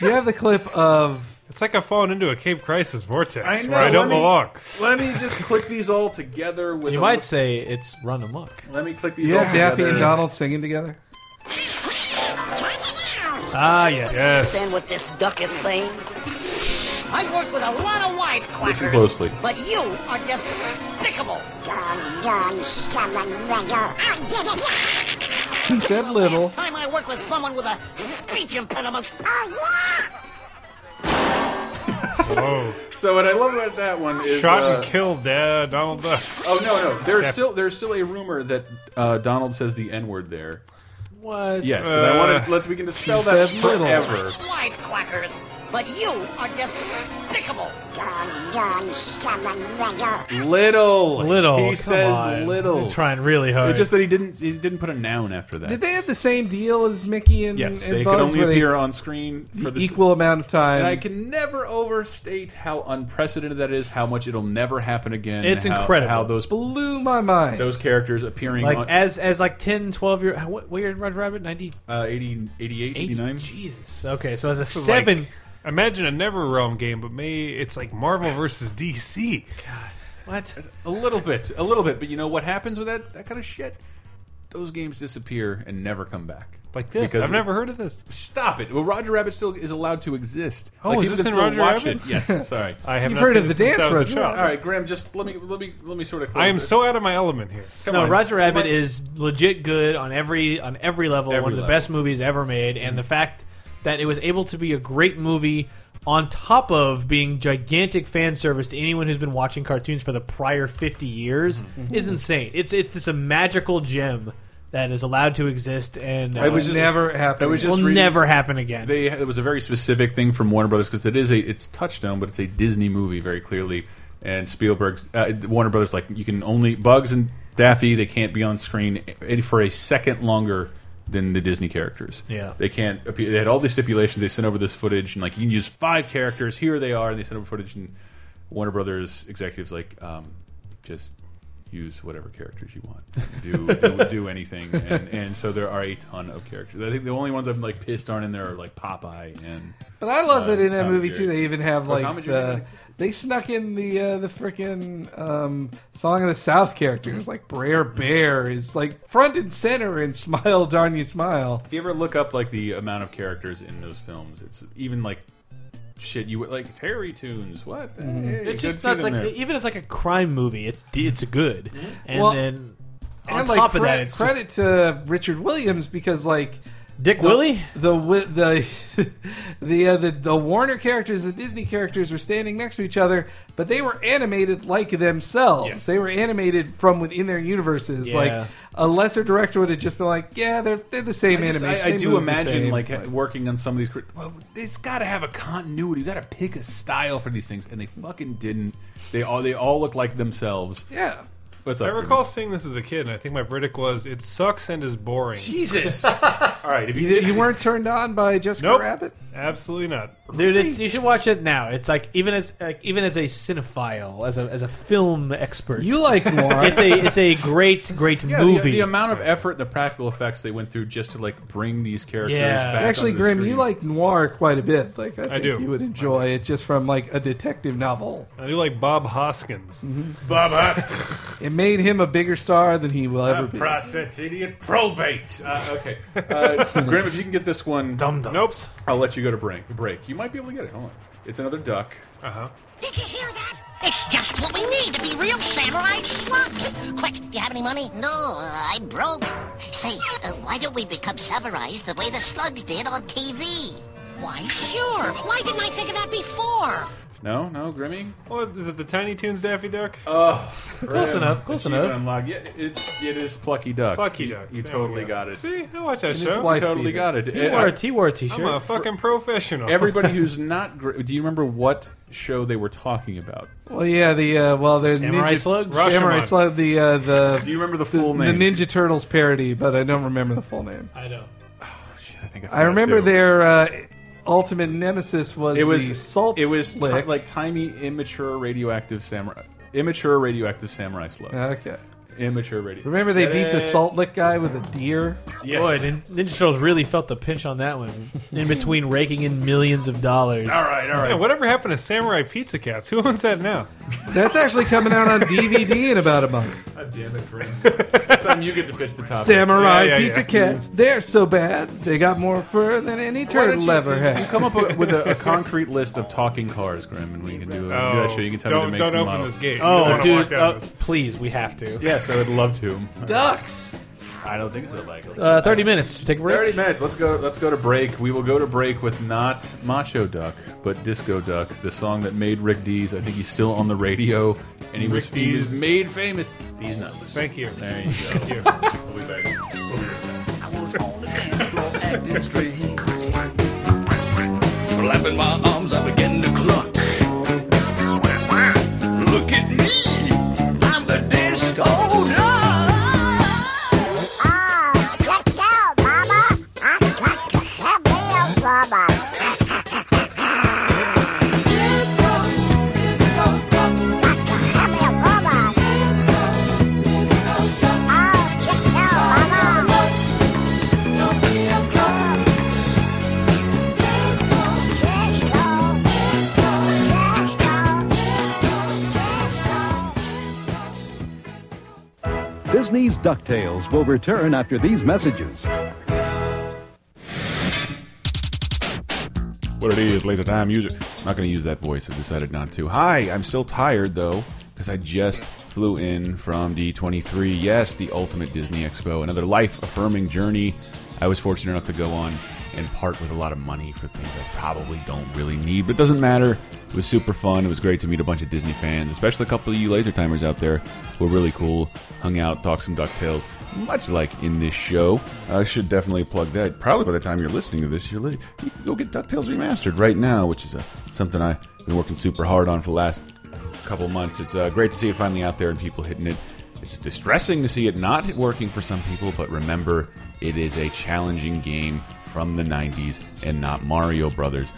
E: do you have the clip of
C: It's like I've fallen into a Cape Crisis vortex
D: I know,
C: where I
D: let
C: don't
D: me-
C: belong.
D: Let me just click these all together with.
F: You
D: a-
F: might say it's run amok.
D: Let me click
E: Do
D: these
E: you
D: all
E: have Daffy
D: together.
E: and Donald singing together?
F: Ah, yes.
C: Yes.
K: Understand what this duck is saying?
A: I've worked with a lot of wisecrackers.
D: Listen closely.
A: But you are despicable.
K: Dumb, dumb, scum, and I'll get it.
E: He said little.
A: Time I work with someone with a speech impediment.
C: Whoa.
D: So what I love about that one is
C: Shot
D: uh,
C: and killed, Dad, Donald Duck.
D: Oh no, no. There's still there's still a rumor that uh, Donald says the N word there.
F: What?
D: Yes, and I want
C: Uh,
D: to let's we can dispel
E: he
D: that
E: said little.
D: forever.
A: Wisecrackers. But you are despicable.
K: Dumb, dumb, scum, and
D: Little,
F: Little.
D: He
F: come
D: says
F: on.
D: little.
F: They're trying really hard.
D: It's just that he didn't he didn't put a noun after that.
E: Did they have the same deal as Mickey and,
D: yes,
E: and
D: they could
E: Bugs?
D: only
E: where they-
D: appear on screen for
E: the
D: the
E: equal amount of time.
D: And I can never overstate how unprecedented that is. How much it'll never happen again.
F: It's
D: how-
F: incredible.
D: How those
E: blew my mind.
D: those characters appearing
F: like
D: on
F: as as like 10, 12 year. What, what year did Roger Rabbit? 90,
D: uh, 80, 88,
F: 80?
D: 89?
F: Jesus. Okay, so as a
C: This is
F: seven.
D: Uh,
C: Like, imagine a Never Realm game, but may it's like Marvel versus DC.
F: What?
D: A little bit, a little bit. But you know what happens with that that kind of shit? Those games disappear and never come back.
C: Like this. I've never heard of this.
D: Stop it. Well, Roger Rabbit still is allowed to exist.
C: Oh,
D: Like,
C: is
D: people
C: this
D: can
C: in
D: still
C: Roger
D: watch
C: Rabbit?
D: It. Yes, sorry.
C: I have You've not heard seen of it the since dance I was a Roger child.
D: All right, Graham. Just let me let me let me sort of. Close
C: I am
D: it.
C: so out of my element here. Come
F: no,
C: on.
F: Roger Rabbit is legit good on every on every level.
C: Every
F: one of the
C: level.
F: best movies ever made, and the
D: Mm-hmm.
F: fact that it was able to be a great movie on top of being gigantic fan service to anyone who's been watching cartoons for the prior fifty years
D: Mm-hmm.
E: Mm-hmm.
F: is insane. It's it's this a magical gem that is allowed to exist and
D: I was
F: uh,
D: just-
E: never happened.
D: I was just
F: will
D: reading-
F: never happen again.
D: They it was a very specific thing from Warner Brothers because it is a it's Touchstone, but it's a Disney movie very clearly. And Spielberg's uh, Warner Brothers like you can only Bugs and Daffy they can't be on screen a- for a second longer than the Disney characters.
F: Yeah.
D: they can't. appear- They had all these stipulations. They sent over this footage and like you can use five characters. Here they are, and they sent over footage. And Warner Brothers executives like um, just use whatever characters you want. Do do, do anything, and, and so there are a ton of characters. I think the only ones I'm like pissed aren't in there are like Popeye and.
E: But I love
D: Uh,
E: that in that
D: Tom and
E: movie
D: Jerry.
E: too. They even have
D: Oh,
E: like
D: Tom and Jerry didn't
E: the,
D: exist?
E: they snuck in the uh, the freaking um, Song of the South characters. Like Brer Bear is like front and center in Smile Darn You Smile.
D: If you ever look up like the amount of characters in those films, it's even like shit. You would like Terry Tunes. What? Hey,
F: it's
D: good
F: just
D: to
F: that's
D: see
F: like
D: them there. Mm-hmm.
F: even it's like a crime movie. It's it's good, and
E: Well,
F: then on
E: and
F: top
E: like
F: of
E: cre-
F: that, it's just-
E: credit to Richard Williams because like
F: Dick
E: the,
F: Willie.
E: the wi- the the, uh, the the Warner characters, the Disney characters were standing next to each other, but they were animated like themselves.
D: Yes.
E: They were animated from within their universes.
F: Yeah.
E: Like a lesser director would have just been like, "Yeah, they're they're the same
D: I, just-
E: animation."
D: I- I
E: They
D: do
E: move the
D: imagine
E: same."
D: like working on some of these. crit- Well, it's got to have a continuity. You got to pick a style for these things, and they fucking didn't. They all they all look like themselves.
E: yeah.
D: What's up?
C: I recall seeing this as a kid, and I think my verdict was it sucks and is boring.
D: Jesus. all right, if you,
E: You, did, you weren't turned on by Jessica
C: Nope.
E: Rabbit?
C: Absolutely not.
F: Dude, it's, you should watch it now. It's like even as like, even as a cinephile, as a as a film expert,
E: You like noir?
F: it's a it's a great great
D: Yeah, the-
F: movie.
D: The, amount of effort and the practical effects they went through just to like bring these characters
F: Yeah.
D: back.
E: Actually,
D: onto the
E: Grim, you
D: screen.
E: like noir quite a bit. Like I, think
C: do.
E: You would enjoy it just from like a detective novel.
D: Uh,
C: I do like Bob Hoskins. Bob Hoskins.
E: It made him a bigger star than he will
D: uh,
E: ever be.
D: process idiot probate. Uh, okay, uh, Grim, if you can get this one,
F: Dum dum.
C: nope.
D: I'll let you go to break. Break. You might be able to get it. Hold on. It's another duck.
C: Uh huh.
K: Did you hear that? It's just what we need to be real samurai slugs. Quick, do you have any money?
A: No, uh, I'm broke. Say, uh, why don't we become samurais the way the slugs did on TV?
K: Why, sure. Why didn't I think of that before?
D: No, no, Grimmy.
C: Well, is it the Tiny Toons Daffy Duck?
D: Oh,
F: Close enough, close enough.
D: Unlock. Yeah, it's it is Plucky Duck.
C: Plucky
D: You-
C: Duck.
D: You
C: There
D: totally
C: we go.
D: got it.
C: See, I watch that
E: his
C: show.
E: wife-
D: You totally
E: Beaver.
D: got it.
F: He
D: Uh,
F: wore a T wore a T
C: I'm a
F: shirt.
C: fucking professional.
D: Everybody who's not Gr- do you remember what show they were talking about?
E: Well, yeah, the uh, well, there's
F: Samurai
E: Ninja,
F: Slugs?
E: Samurai
C: Rashomon.
E: Slug, the uh,
D: Do
E: the
D: you remember the
E: the,
D: full name?
E: Ninja Turtles parody, but I don't remember the full name.
F: I know.
D: Oh, shit, I think I,
E: I
D: forgot
E: remember
D: too.
E: their uh, ultimate nemesis was
D: It was
E: the salt.
D: It was ti-
E: lick.
D: like tiny, immature, radioactive samurai. Immature radioactive samurai slugs.
E: okay.
D: Immature radio.
E: Uh, Remember they beat the
D: Eh,
E: salt lick guy with a deer.
D: Yeah.
F: Boy, Nin- Ninja Turtles really felt the pinch on that one. In between raking in millions of dollars.
D: All right, all right.
C: Yeah, whatever happened to Samurai Pizza Cats? Who owns that now?
E: That's actually coming out on DVD in about a month.
D: God damn it, Brent. Next time you get to pitch the topic.
E: Samurai
C: Yeah, yeah,
E: Pizza
C: yeah.
E: Cats. They're so bad. They got more fur than any
D: Why don't
E: turtle ever had.
D: You come up with a, a concrete list of talking cars, Grim, and we can do, a, do that show. You can tell
C: don't
D: me to make
C: don't
D: some
C: open
D: models.
C: this gate. You don't
F: Oh,
C: wanna walk
F: dude,
C: down
F: uh,
C: this.
F: please, we have to.
D: Yes, I would love to.
E: Ducks.
D: I don't think so, Michael.
F: Uh, Thirty minutes. Take a break.
D: Thirty minutes. Let's go. Let's go to break. We will go to break with not Macho Duck, but Disco Duck, the song that made Rick Dees. I think he's still on the radio, and he was
C: Rick
D: he was
C: Dees.
D: made famous. These nuts.
C: Thank you.
D: There you go.
C: Thank you.
D: We'll be back.
J: I was on the dance floor acting strange. Flapping my arms, I began to cluck. Look at me, I'm the disco duck.
A: Ah, let go, Mama. I got to have me a mama. Got to have me a mama. Oh, let go, Mama. Let's go.
L: Disney's DuckTales will return after these messages.
D: What it is, laser time user. I'm not going to use that voice. I decided not to. Hi, I'm still tired though because I just flew in from D23. Yes, the Ultimate Disney Expo, another life-affirming journey. I was fortunate enough to go on and part with a lot of money for things I probably don't really need, but it doesn't matter. It was super fun. It was great to meet a bunch of Disney fans, especially a couple of you laser timers out there who were really cool. Hung out, talked some Ducktales, much like in this show. I should definitely plug that. Probably by the time you're listening to this, you're li- you can go get Ducktales remastered right now, which is uh, something I've been working super hard on for the last couple months. It's uh, great to see it finally out there and people hitting it. It's distressing to see it not working for some people, but remember, it is a challenging game from the 90s and not Mario Brothers.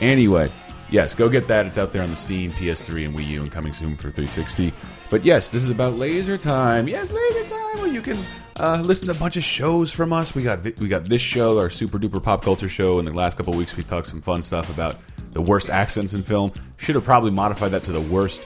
D: Anyway, yes, go get that. It's out there on the Steam, PS3, and Wii U, and coming soon for 360. But yes, this is about laser time. Yes, laser time, where you can uh, listen to a bunch of shows from us. We got vi- we got this show, our super duper pop culture show. In the last couple weeks, we talked some fun stuff about the worst accents in film. Should have probably modified that to the worst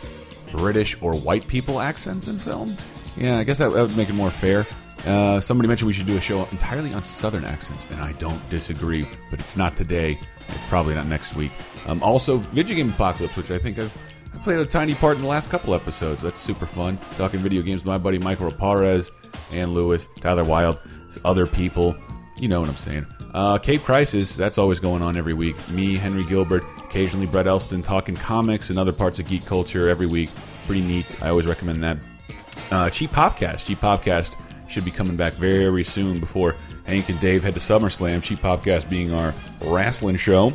D: British or white people accents in film. Yeah, I guess that, that would make it more fair. Uh, somebody mentioned we should do a show entirely on Southern accents, and I don't disagree, but it's not today. It's probably not next week. Um, also, Video Game Apocalypse, which I think I've I played a tiny part in the last couple episodes. That's super fun. Talking video games with my buddy Michael Raparez, and Lewis, Tyler Wilde, other people. You know what I'm saying. Uh, Cape Crisis, that's always going on every week. Me, Henry Gilbert, occasionally Brett Elston talking comics and other parts of geek culture every week. Pretty neat. I always recommend that. Uh, Cheap Popcast. Cheap Popcast should be coming back very soon before Hank and Dave head to SummerSlam. Cheap Popcast being our wrestling show.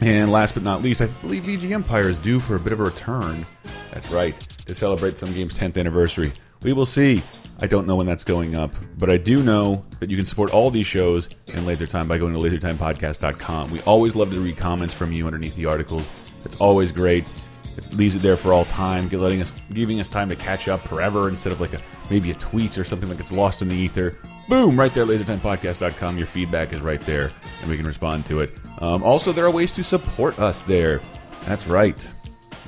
D: And last but not least, I believe VG Empire is due for a bit of a return. That's right, to celebrate some game's 10th anniversary. We will see. I don't know when that's going up, but I do know that you can support all these shows and Laser Time by going to lasertimepodcast.com. We always love to read comments from you underneath the articles. It's always great. It leaves it there for all time, g- letting us giving us time to catch up forever instead of like a maybe a tweet or something that gets lost in the ether. Boom, right there, lasertimepodcast.com. Your feedback is right there, and we can respond to it. Um, also, there are ways to support us there. That's right.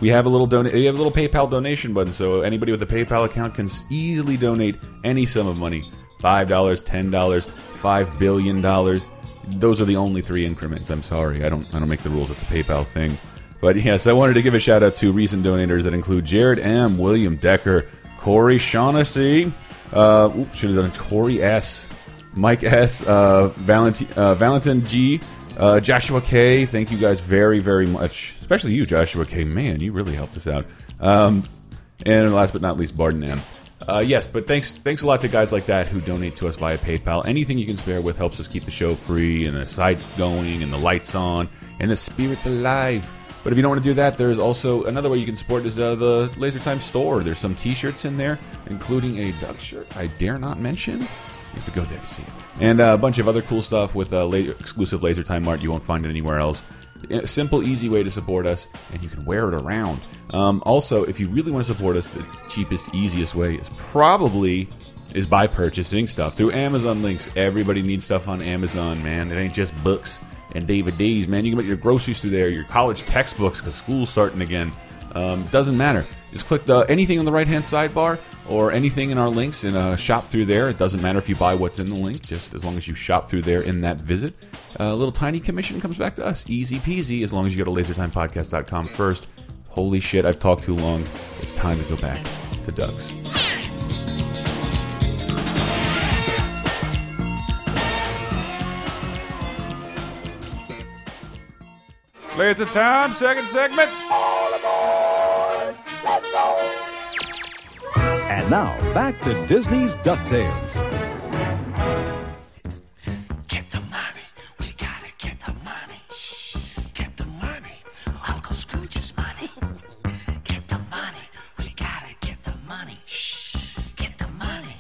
D: We have a little donate. We have a little PayPal donation button, so anybody with a PayPal account can s- easily donate any sum of money: five dollars, ten dollars, five billion dollars. Those are the only three increments. I'm sorry, I don't. I don't make the rules. It's a PayPal thing. But yes, I wanted to give a shout out to recent donators that include Jared M, William Decker, Corey Shaughnessy. Uh, oop, should have done Corey S. Mike S, uh, Valentin, uh, Valentin G, uh, Joshua K. Thank you guys very, very much, especially you, Joshua K. Man, you really helped us out. Um, and last but not least, Barden M. Uh, yes, but thanks, thanks a lot to guys like that who donate to us via PayPal. Anything you can spare with helps us keep the show free and the site going and the lights on and the spirit alive. But if you don't want to do that, there's also another way you can support is uh, the Laser Time store. There's some T-shirts in there, including a duck shirt I dare not mention. You have to go there to see it, and uh, a bunch of other cool stuff with uh, la exclusive Laser Time art you won't find it anywhere else. A simple, easy way to support us, and you can wear it around. Um, also, if you really want to support us, the cheapest, easiest way is probably is by purchasing stuff through Amazon links. Everybody needs stuff on Amazon, man. It ain't just books and DVDs, man. You can get your groceries through there, your college textbooks, because school's starting again. Um, doesn't matter. Just click the anything on the right hand sidebar or anything in our links and uh, shop through there. It doesn't matter if you buy what's in the link, just as long as you shop through there in that visit. A little tiny commission comes back to us. Easy peasy, as long as you go to lasertimepodcast.com first. Holy shit, I've talked too long. It's time to go back to Ducks. Laser time, second segment.
L: And now, back to Disney's DuckTales.
J: Uncle Scrooge's money. Get the money. We gotta get the money. Shh. Get the money.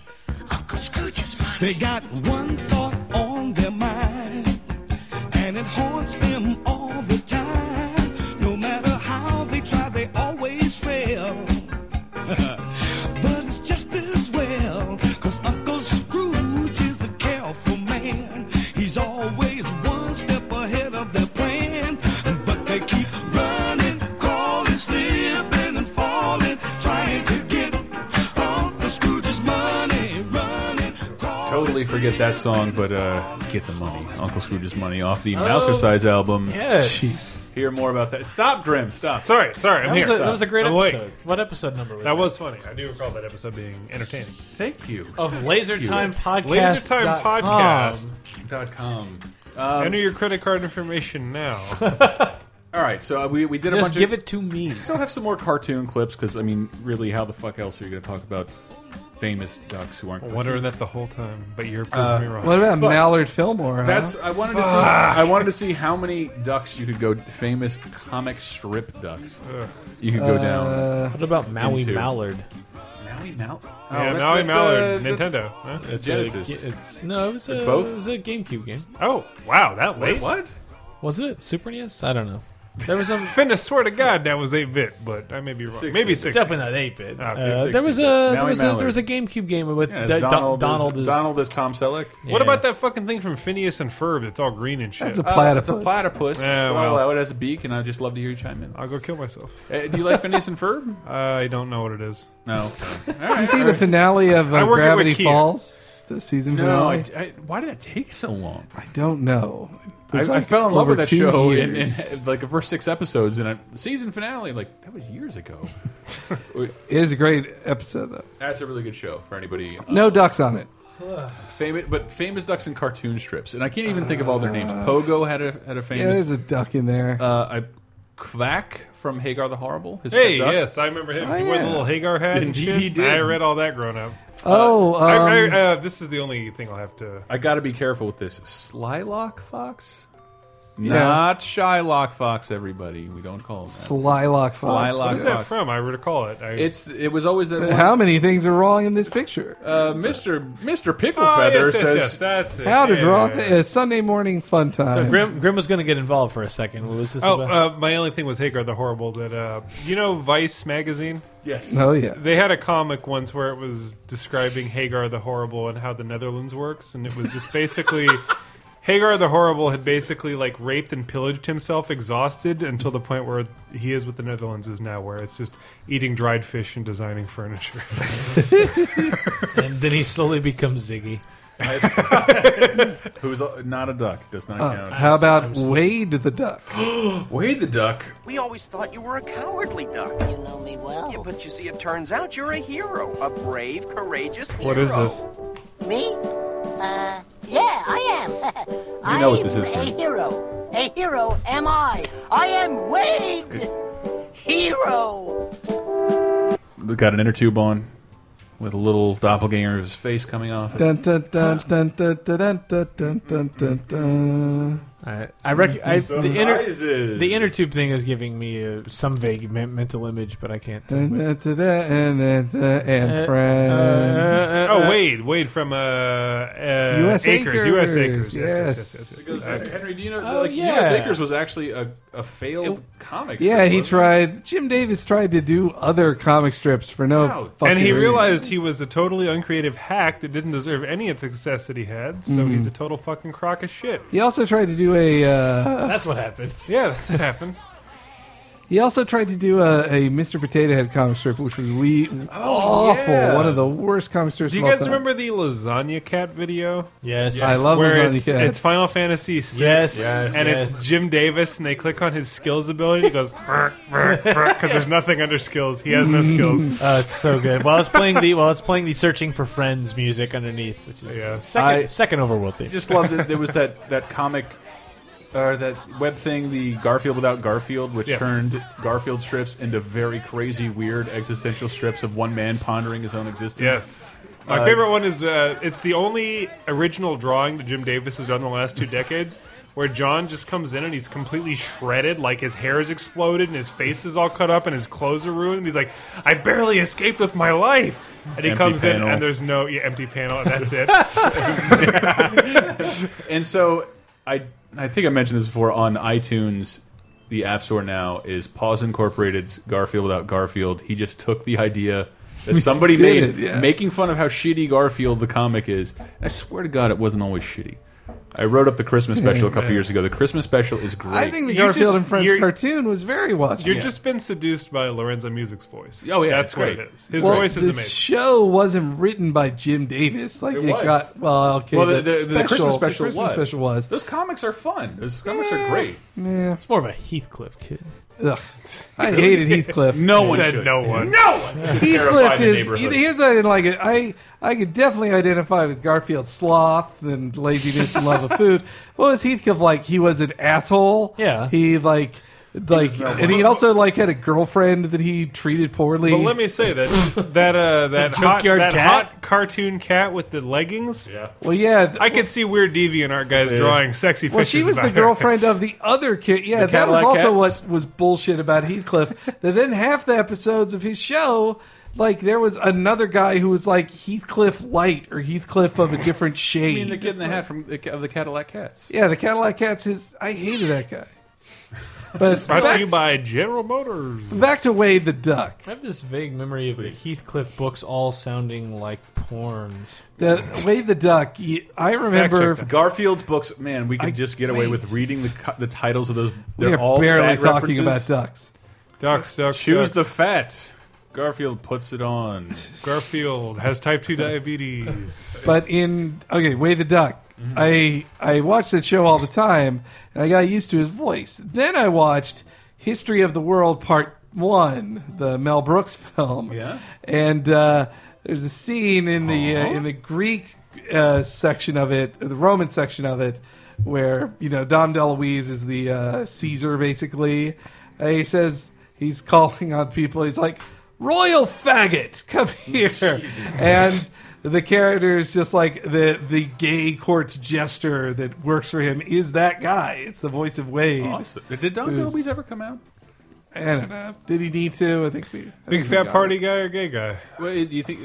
J: Uncle Scrooge's money.
M: They got one thought on their mind, and it haunts them all the time. No matter how they try, they always fail. but it's just as well, cause Uncle Scrooge is a careful man. He's always one step ahead of their plan, but they keep running, crawling, slipping, and falling, trying to get Uncle Scrooge's money.
D: totally forget that song, but uh, get the money, Uncle Scrooge's money, off the Mouser Size album.
F: Yes.
D: Jesus. Hear more about that. Stop, Grim. Stop.
F: Sorry, sorry, I'm
D: That
F: here.
D: was a-
F: that was a great
D: I'm awake.
F: episode. What episode number was
C: That
F: that?
C: was funny. I do recall that episode being entertaining.
D: Thank you.
F: Of Laser Time Podcast.
C: Laser Time
F: dot com. Um,
C: Podcast.
D: Dot com.
C: Enter your credit card information now.
D: All right, so uh, we, we did a
F: Just
D: bunch.
F: give
D: of,
F: it to me.
D: Still have some more cartoon clips because I mean, really, how the fuck else are you going to talk about famous ducks who aren't?
C: I wonder that the whole time, but you're proving
D: Uh,
C: me wrong.
E: What about
D: But-
E: Mallard Fillmore? huh?
D: That's I wanted to see. I wanted to see how many ducks you could go famous comic strip ducks. You could go
E: Uh,
D: down.
E: What about Maui
F: Mallard?
D: Maui oh, Mallard.
C: yeah, Maui
F: uh,
C: Mallard, Nintendo. huh?
F: It's
D: uh, Genesis.
F: A, it's no, it was
D: It's
F: a,
D: both?
F: It was a GameCube game.
C: Oh, wow, that
D: Wait,
C: late?
D: what?
F: Was it Super NES? I don't know. There was
C: I
F: a
C: finna swear to God that was 8 bit, but I may be wrong.
D: 16.
C: Maybe 6.
F: definitely not eight bit.
C: Okay.
F: Uh, there was a there
D: Maui
F: was a,
D: Mallard.
F: there was a GameCube game with
D: Yeah, it's
F: that- Don-
D: Donald,
F: Donald
D: is,
F: is
D: Donald is Tom Selleck.
C: What
F: Yeah.
C: about that fucking thing from Phineas and Ferb that's all green and shit?
E: That's a
D: Uh,
E: platypus.
D: It's a platypus.
C: Yeah,
D: Well,
C: well.
D: it has a beak, and I'd just love to hear you chime in.
C: I'll go kill myself.
D: Uh, do you like Phineas and Ferb?
C: I don't know what it is.
D: No.
E: Did you see the finale of
C: I
E: uh,
C: work at
E: Gravity
C: Wikia.
E: Falls? The season
D: No.
E: finale?
D: I, I, why did that take so long?
E: I, don't know. It
D: I,
E: was
D: I
E: like
D: fell in love
E: over
D: with that
E: two
D: show in, in
E: years.
D: like the first six episodes, and I, season finale. Like that was years ago.
E: It is a great episode, though.
D: That's a really good show for anybody. uh,
E: No ducks on it.
D: famous, but famous ducks and cartoon strips, and I can't even think of all their names. Pogo had a had Uh, a
E: Yeah,
D: famous.
E: there's a duck in there.
D: uh, a Quack from Hagar the Horrible. His
C: Hey,
D: pet duck.
C: yes, I remember him.
E: Oh,
C: he wore the
E: yeah.
C: little Hagar hat and
D: Indeed
C: shit.
D: he did.
C: I read all that growing up.
E: oh, um,
C: I, I, uh, this is the only thing I'll have to.
D: I got to be careful with this. Slylock Fox,
E: Yeah.
D: not Shylock Fox. Everybody, we don't call him that.
E: Slylock Fox.
D: Slylock
C: Where's that
D: Fox.
C: from? I recall it. I,
D: It's it was always that.
E: How
D: one-
E: many things are wrong in this picture?
D: Uh, Mr. Mr. Pickle
C: Oh,
D: Feather
C: yes, yes,
D: says
C: yes, that's it.
E: How to
C: Yeah,
E: draw
C: yeah,
E: thi-
C: yeah.
E: uh, Sunday morning fun time.
F: So Grim, Grim was going to get involved for a second. What was this
C: Oh,
F: about?
C: uh, my only thing was Hagar the Horrible. That uh, you know, Vice magazine.
D: yes.
E: oh yeah.
C: They had a comic once where it was describing Hagar the Horrible and how the Netherlands works, and it was just basically Hagar the Horrible had basically like raped and pillaged himself, exhausted until the point where he is what the Netherlands is now, where it's just eating dried fish and designing furniture.
F: and then he slowly becomes Ziggy.
D: Who's uh, not a duck does not
E: Uh,
D: count.
E: how about Wade the duck?
D: Wade the duck?
H: We always thought you were a cowardly duck.
J: You know me well.
H: Yeah, but you see, it turns out you're a hero. A brave, courageous hero.
C: what is this?
J: Me? Uh, yeah, I am.
D: You know what this
J: I'm
D: is,
J: A
D: Grim.
J: hero. A hero am I. I am Wade. Hero.
D: We got an inner tube on with a little doppelganger of his face coming off. it.
E: Dun, dun, dun, dun, dun, dun, dun, dun, dun, dun, dun, dun.
F: I, I, rec- I the inner
D: Surprises.
F: the inner tube thing is giving me uh, some vague me- mental image, but I can't.
E: Dun, dun, dun, dun, dun, dun, dun,
F: Uh,
E: And
F: uh,
E: friends.
F: uh, uh,
C: Oh, Wade, Wade from uh, uh,
E: US
C: Acres, U.S.
E: Acres,
C: Acres. Yes, yes,
E: yes.
C: yes, yes, yes.
D: Because, uh, Henry, do you know
F: Oh,
D: like
F: yeah.
D: U.S. Acres was actually a, a failed comic?
E: Yeah,
D: strip,
E: he
D: wasn't
E: tried. Jim Davis tried to do other comic strips for no.
D: Wow.
E: fucking
C: and he
E: reason.
C: realized he was a totally uncreative hack that didn't deserve any of the success that he had, so
E: Mm-hmm.
C: he's a total fucking crock of shit.
E: He also tried to do a. Uh,
F: That's what happened.
C: Yeah, that's what happened.
E: he also tried to do a, a Mr. Potato Head comic strip, which was we awful.
D: yeah.
E: One of the worst comic strips.
C: Oh, Do you
E: of all
C: guys
E: time.
C: remember the Lasagna Cat video?
F: Yes,
E: I love
C: Where
E: Lasagna
C: it's,
E: Cat.
C: it's Final Fantasy VI,
F: Yes. Yes.
C: and
F: Yes.
C: it's Jim Davis, and they click on his skills ability. He goes because there's nothing under skills. He has no skills.
F: Oh, it's so good. While it's playing the while it's playing the searching for friends music underneath, which is
C: Yeah.
F: the second
D: I-
F: second overworld
D: I
F: theme.
D: just loved it. There was that that comic. Or that web thing, the Garfield without Garfield, which
C: Yes.
D: turned Garfield strips into very crazy, weird existential strips of one man pondering his own existence.
C: Yes. My
D: Uh,
C: favorite one is uh, it's the only original drawing that Jim Davis has done the last two decades where John just comes in and he's completely shredded, like his hair is exploded and his face is all cut up and his clothes are ruined. He's like, I barely escaped with my life. And he
D: Empty
C: comes
D: panel.
C: in and there's no yeah, empty panel and that's it.
D: And so I I think I mentioned this before on iTunes. The App Store now is Paws Incorporated's Garfield without Garfield. He just took the idea that somebody
E: did
D: made
E: it, yeah.
D: making fun of how shitty Garfield the comic is. And I swear to God, it wasn't always shitty. I wrote up the Christmas special a couple
E: Yeah.
D: years ago. The Christmas special is great.
E: I think the Garfield and Friends
C: you're-
E: cartoon was very watchable.
C: You've just been seduced by Lorenzo Music's voice.
D: Oh, yeah,
C: that's
D: it's
C: what
D: great.
C: it is. His
E: Well,
C: voice is
E: this
C: amazing.
E: show wasn't written by Jim Davis. Like
D: It
E: it,
D: was.
E: got well. Okay,
D: Well, the,
E: but
D: the, the Christmas special
E: the Christmas
D: was.
E: special was.
D: Those comics are fun. Those comics are great.
E: Yeah.
F: It's more of a Heathcliff kid.
E: Ugh. I hated Heathcliff.
D: No one
F: Said
D: should.
F: no one.
D: No one. should terrify
E: Heathcliff
D: the
E: is.
D: neighborhood.
E: Here's what I didn't like. It. I I could definitely identify with Garfield's sloth and laziness and love of food. What was Heathcliff like? He was an asshole.
C: Yeah.
E: He like like, and he also like had a girlfriend that he treated poorly.
C: But let me say that that uh, that hot,
E: Junkyard
C: that
E: cat?
C: hot cartoon cat with the leggings. Yeah.
E: Well, yeah. th-
C: I could see weird deviant art guys
E: Yeah.
C: drawing sexy.
E: Well, she
C: pictures
E: was the
C: about her.
E: girlfriend of the other kid. Yeah,
C: The
E: that was
C: Cadillac
E: also
C: Cats?
E: what was bullshit about Heathcliff. that then half the episodes of his show, like there was another guy who was like Heathcliff Light or Heathcliff of a different
D: I
E: shade.
D: mean, the kid in the hat from the, of the Cadillac Cats.
E: yeah, the Cadillac Cats. His I hated that guy. But
C: Brought to
E: back,
C: you by General Motors.
E: back to Wade the Duck.
F: I have this vague memory of the Heathcliff books all sounding like porns.
E: The Wade the Duck. y- I remember.
D: Garfield's books. Man, we could just get away
E: wait.
D: with reading the cu- the titles of those.
E: We
D: They're
E: are
D: all
E: barely
D: fat
E: talking about uh,
D: references.
E: ducks.
C: Ducks, ducks.
D: Choose
C: ducks.
D: the fat. Garfield puts it on.
C: Garfield has type two diabetes.
E: But in okay, Wade the Duck, I I watched that show all the time, and I got used to his voice. Then I watched History of the World Part One, the Mel Brooks film.
D: Yeah.
E: and uh, there's a scene in the uh, in the Greek uh, section of it, the Roman section of it, where you know Dom DeLuise is the uh, Caesar basically. And he says he's calling on people. He's like, "Royal faggot, come here!" And the character is just like the the gay court jester that works for him is that guy. It's the voice of Wade.
D: Awesome. Did Don
E: It was-
D: Gilby's ever come out?
E: I don't know. uh, Did he need to? I think we. I
C: Big
E: think we
C: fat
E: got
C: party guy or gay guy?
D: Well, do you think?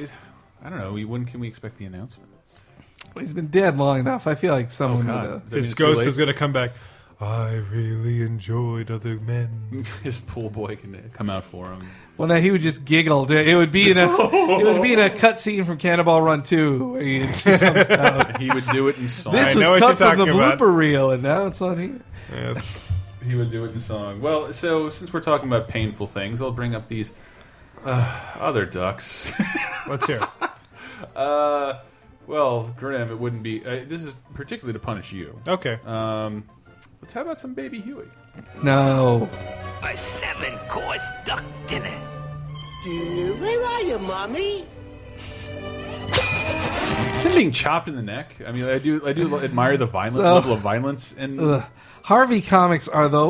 D: I don't know. When can we expect the announcement?
E: it. He's been dead long enough. I feel like someone
D: Oh, God.
E: would.
D: Does
E: have-
D: that mean
C: His
D: it's too
C: ghost
D: late?
C: is gonna come back. I really enjoyed other men.
D: His pool boy can come out for him.
E: Well, no, he would just giggle. dude. It would be in a it would be in a cutscene from Cannonball Run Two. Where he comes out.
D: He would do it in song.
E: This
C: I
E: was
C: know what
E: cut
C: you're
E: from the
C: talking about.
E: blooper reel, and now it's on here.
C: Yes.
D: He would do it in song. Well, so since we're talking about painful things, I'll bring up these uh, other ducks.
C: Let's hear. it.
D: uh, well, Grim, it wouldn't be. Uh, this is particularly to punish you.
C: Okay.
D: Um, let's how about some baby Huey?
E: No,
J: A seven course duck dinner. Where are you, Mommy?
D: It's him being chopped in the neck. I mean, I do, I do admire the violence
E: So-
D: level of violence and.
E: Ugh. Harvey comics are the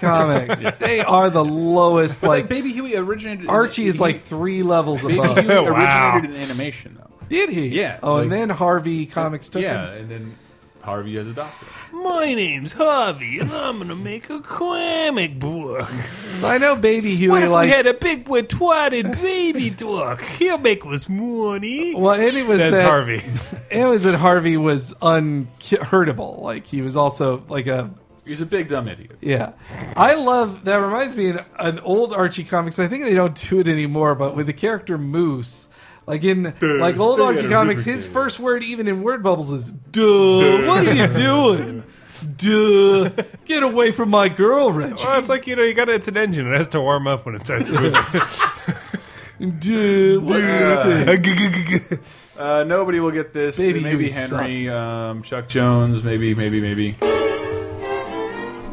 E: comics. They are the lowest.
D: But
E: Like
D: Baby Huey originated. in-
E: Archie is
D: he-
E: like three levels
D: Baby
E: above.
D: Huey originated
C: Wow.
D: in animation, though.
E: Did he?
D: Yeah,
E: Oh, and
D: like-
E: then Harvey comics took
D: yeah,
E: him.
D: and then Harvey as a doctor.
F: My name's Harvey, and I'm gonna make a comic book.
E: So I know Baby
F: What
E: Huey
F: if
E: like
F: we had a big retarded baby duck? He'll make us money.
E: well, and it was
C: Says
E: that
C: Harvey.
E: it was that Harvey was unhurtable. Like he was also like a
D: He's a big dumb idiot.
E: Yeah, I love that. Reminds me of an old Archie comics. I think they don't do it anymore, but with the character Moose, like in like old
D: stay
E: Archie
D: out of
E: comics,
D: Riverdale.
E: his first word even in word bubbles is "duh." What are you doing? Duh! Get away from my girl, Reggie.
C: Well, it's like you know, you got to it's an engine. It has to warm up when it starts moving.
E: Duh! What's this thing?
D: Uh, nobody will get this.
E: Baby
D: maybe
E: Huey
D: Henry,
E: sucks.
D: um, Chuck Jones, maybe, maybe, maybe.
A: Mommy!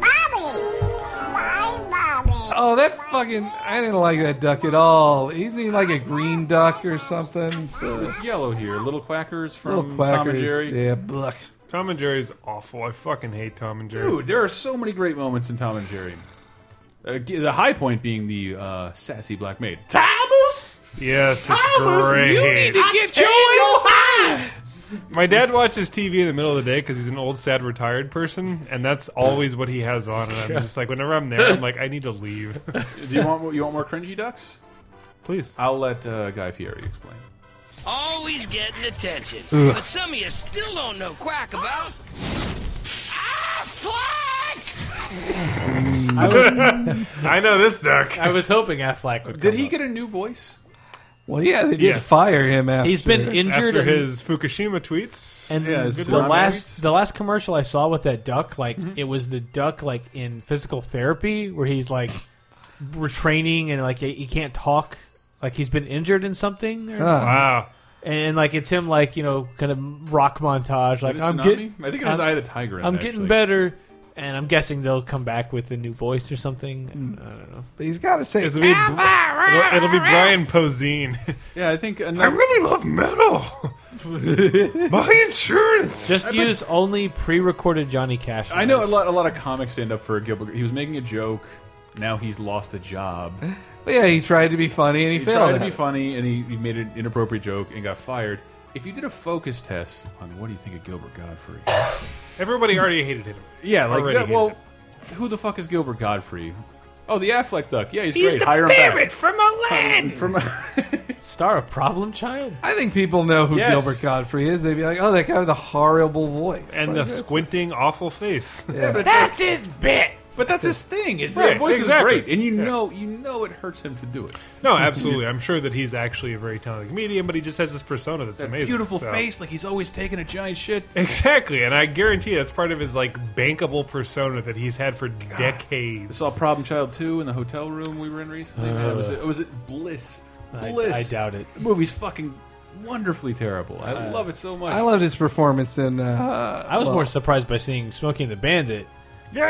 A: My mommy!
E: Oh, that fucking! I didn't like that duck at all. Isn't he like a green duck or something? Ugh.
D: There's yellow here. Little Quackers from
E: Little
D: Tom and
E: quackers.
D: Jerry.
E: Yeah, bluck.
C: Tom and Jerry's awful. I fucking hate Tom and Jerry.
D: Dude, there are so many great moments in Tom and Jerry. Uh, g- the high point being the uh, sassy black maid. Thomas,
C: Yes, it's great.
E: get your high.
C: My dad watches TV in the middle of the day because he's an old, sad, retired person, and that's always what he has on. And I'm just like, whenever I'm there, I'm like, I need to leave.
D: do you want more- you want more cringy ducks?
C: Please.
D: I'll let uh, Guy Fieri explain.
J: Always getting attention.
E: Ugh.
J: But some of you still don't know quack about. Affleck!
C: I know this duck.
F: I was hoping Affleck would.
D: Did
F: come
D: he
F: up.
D: get a new voice?
E: Well, yeah, they did fire him after.
F: He's been injured
C: after
F: and-
C: his Fukushima tweets.
F: And the last the last commercial I saw with that duck, like it was the duck like in physical therapy where he's like we're training and like he he can't talk, like he's been injured in something. Or,
C: Ah. Wow.
F: And like it's him like you know kind of rock montage like
D: it
F: I'm
D: Tsunami?
F: getting
D: I think it was
F: I'm-
D: Eye of the Tiger in
F: I'm
D: it,
F: getting
D: actually.
F: better, and I'm guessing they'll come back with a new voice or something.
D: Hmm.
F: Uh, I don't know.
E: But he's got to say
C: It'll be, it'll, it'll be Brian Posehn.
D: Yeah, I think uh,
C: I really love metal. My insurance.
F: Just
D: I bet-
F: use only pre-recorded Johnny Cash.
D: I know a lot. A lot of comics stand up for Gilbert. He was making a joke. Now he's lost a job.
E: But yeah, he tried to be funny and he,
D: he
E: failed.
D: tried to be
E: at it.
D: funny and he, he made an inappropriate joke and got fired. If you did a focus test on what do you think of Gilbert Godfrey?
C: Everybody already hated him.
D: yeah, like
C: Already
D: that,
C: hated
D: well, who the fuck is Gilbert Godfrey? Oh, the Affleck duck. Yeah, he's,
C: He's
D: great.
C: the
D: Hire him back.
C: parrot
F: from Aladdin.
D: From
F: Star of Problem Child.
E: I think people know who
C: Yes.
E: Gilbert Godfrey is. They'd be like, "Oh, that guy with the horrible voice
C: And
E: Like,
C: the
E: that's-
C: squinting, awful face.
E: Yeah, but
F: That's his bit.
D: But that's his thing. His
C: Right,
D: voice
C: exactly.
D: is great, and you
C: Yeah.
D: know, you know, it hurts him to do it.
C: No, absolutely. I'm sure that he's actually a very talented comedian, but he just has this persona that's
D: That
C: amazing.
D: beautiful
C: so-
D: face, like he's always taking a giant shit.
C: Exactly, and I guarantee that's part of his like bankable persona that he's had for decades.
D: I saw Problem Child 2 in the hotel room we were in recently. man. It was,
C: Ugh.
D: it was bliss.
F: I-
D: Bliss.
F: I doubt it.
D: The movie's fucking wonderfully terrible. I
F: Uh,
D: love it so much.
E: I loved his performance in. Uh,
F: I was
E: well,
F: more surprised by seeing Smoking the Bandit.
D: Yeah!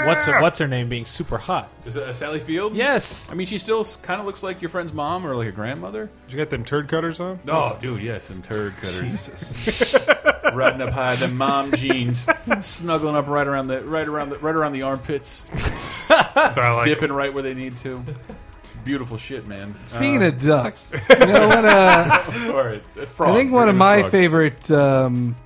F: And what's her, what's her name being super hot?
D: Is it uh, Sally Field?
F: Yes.
D: I mean, she still kind of looks like your friend's mom or like a grandmother.
C: Did you get them turd cutters on?
D: No, dude, yes, them turd cutters. Jesus. Riding up high, them mom jeans, snuggling up right around the right around the right around the armpits. That's
C: what I like.
D: Dipping right where they need to. It's beautiful shit, man.
E: Speaking
D: Uh,
E: of ducks, you know what? Uh,
D: Sorry, Oh, a frog.
E: I think one
D: It
E: of
D: was
E: my
D: frog.
E: favorite um,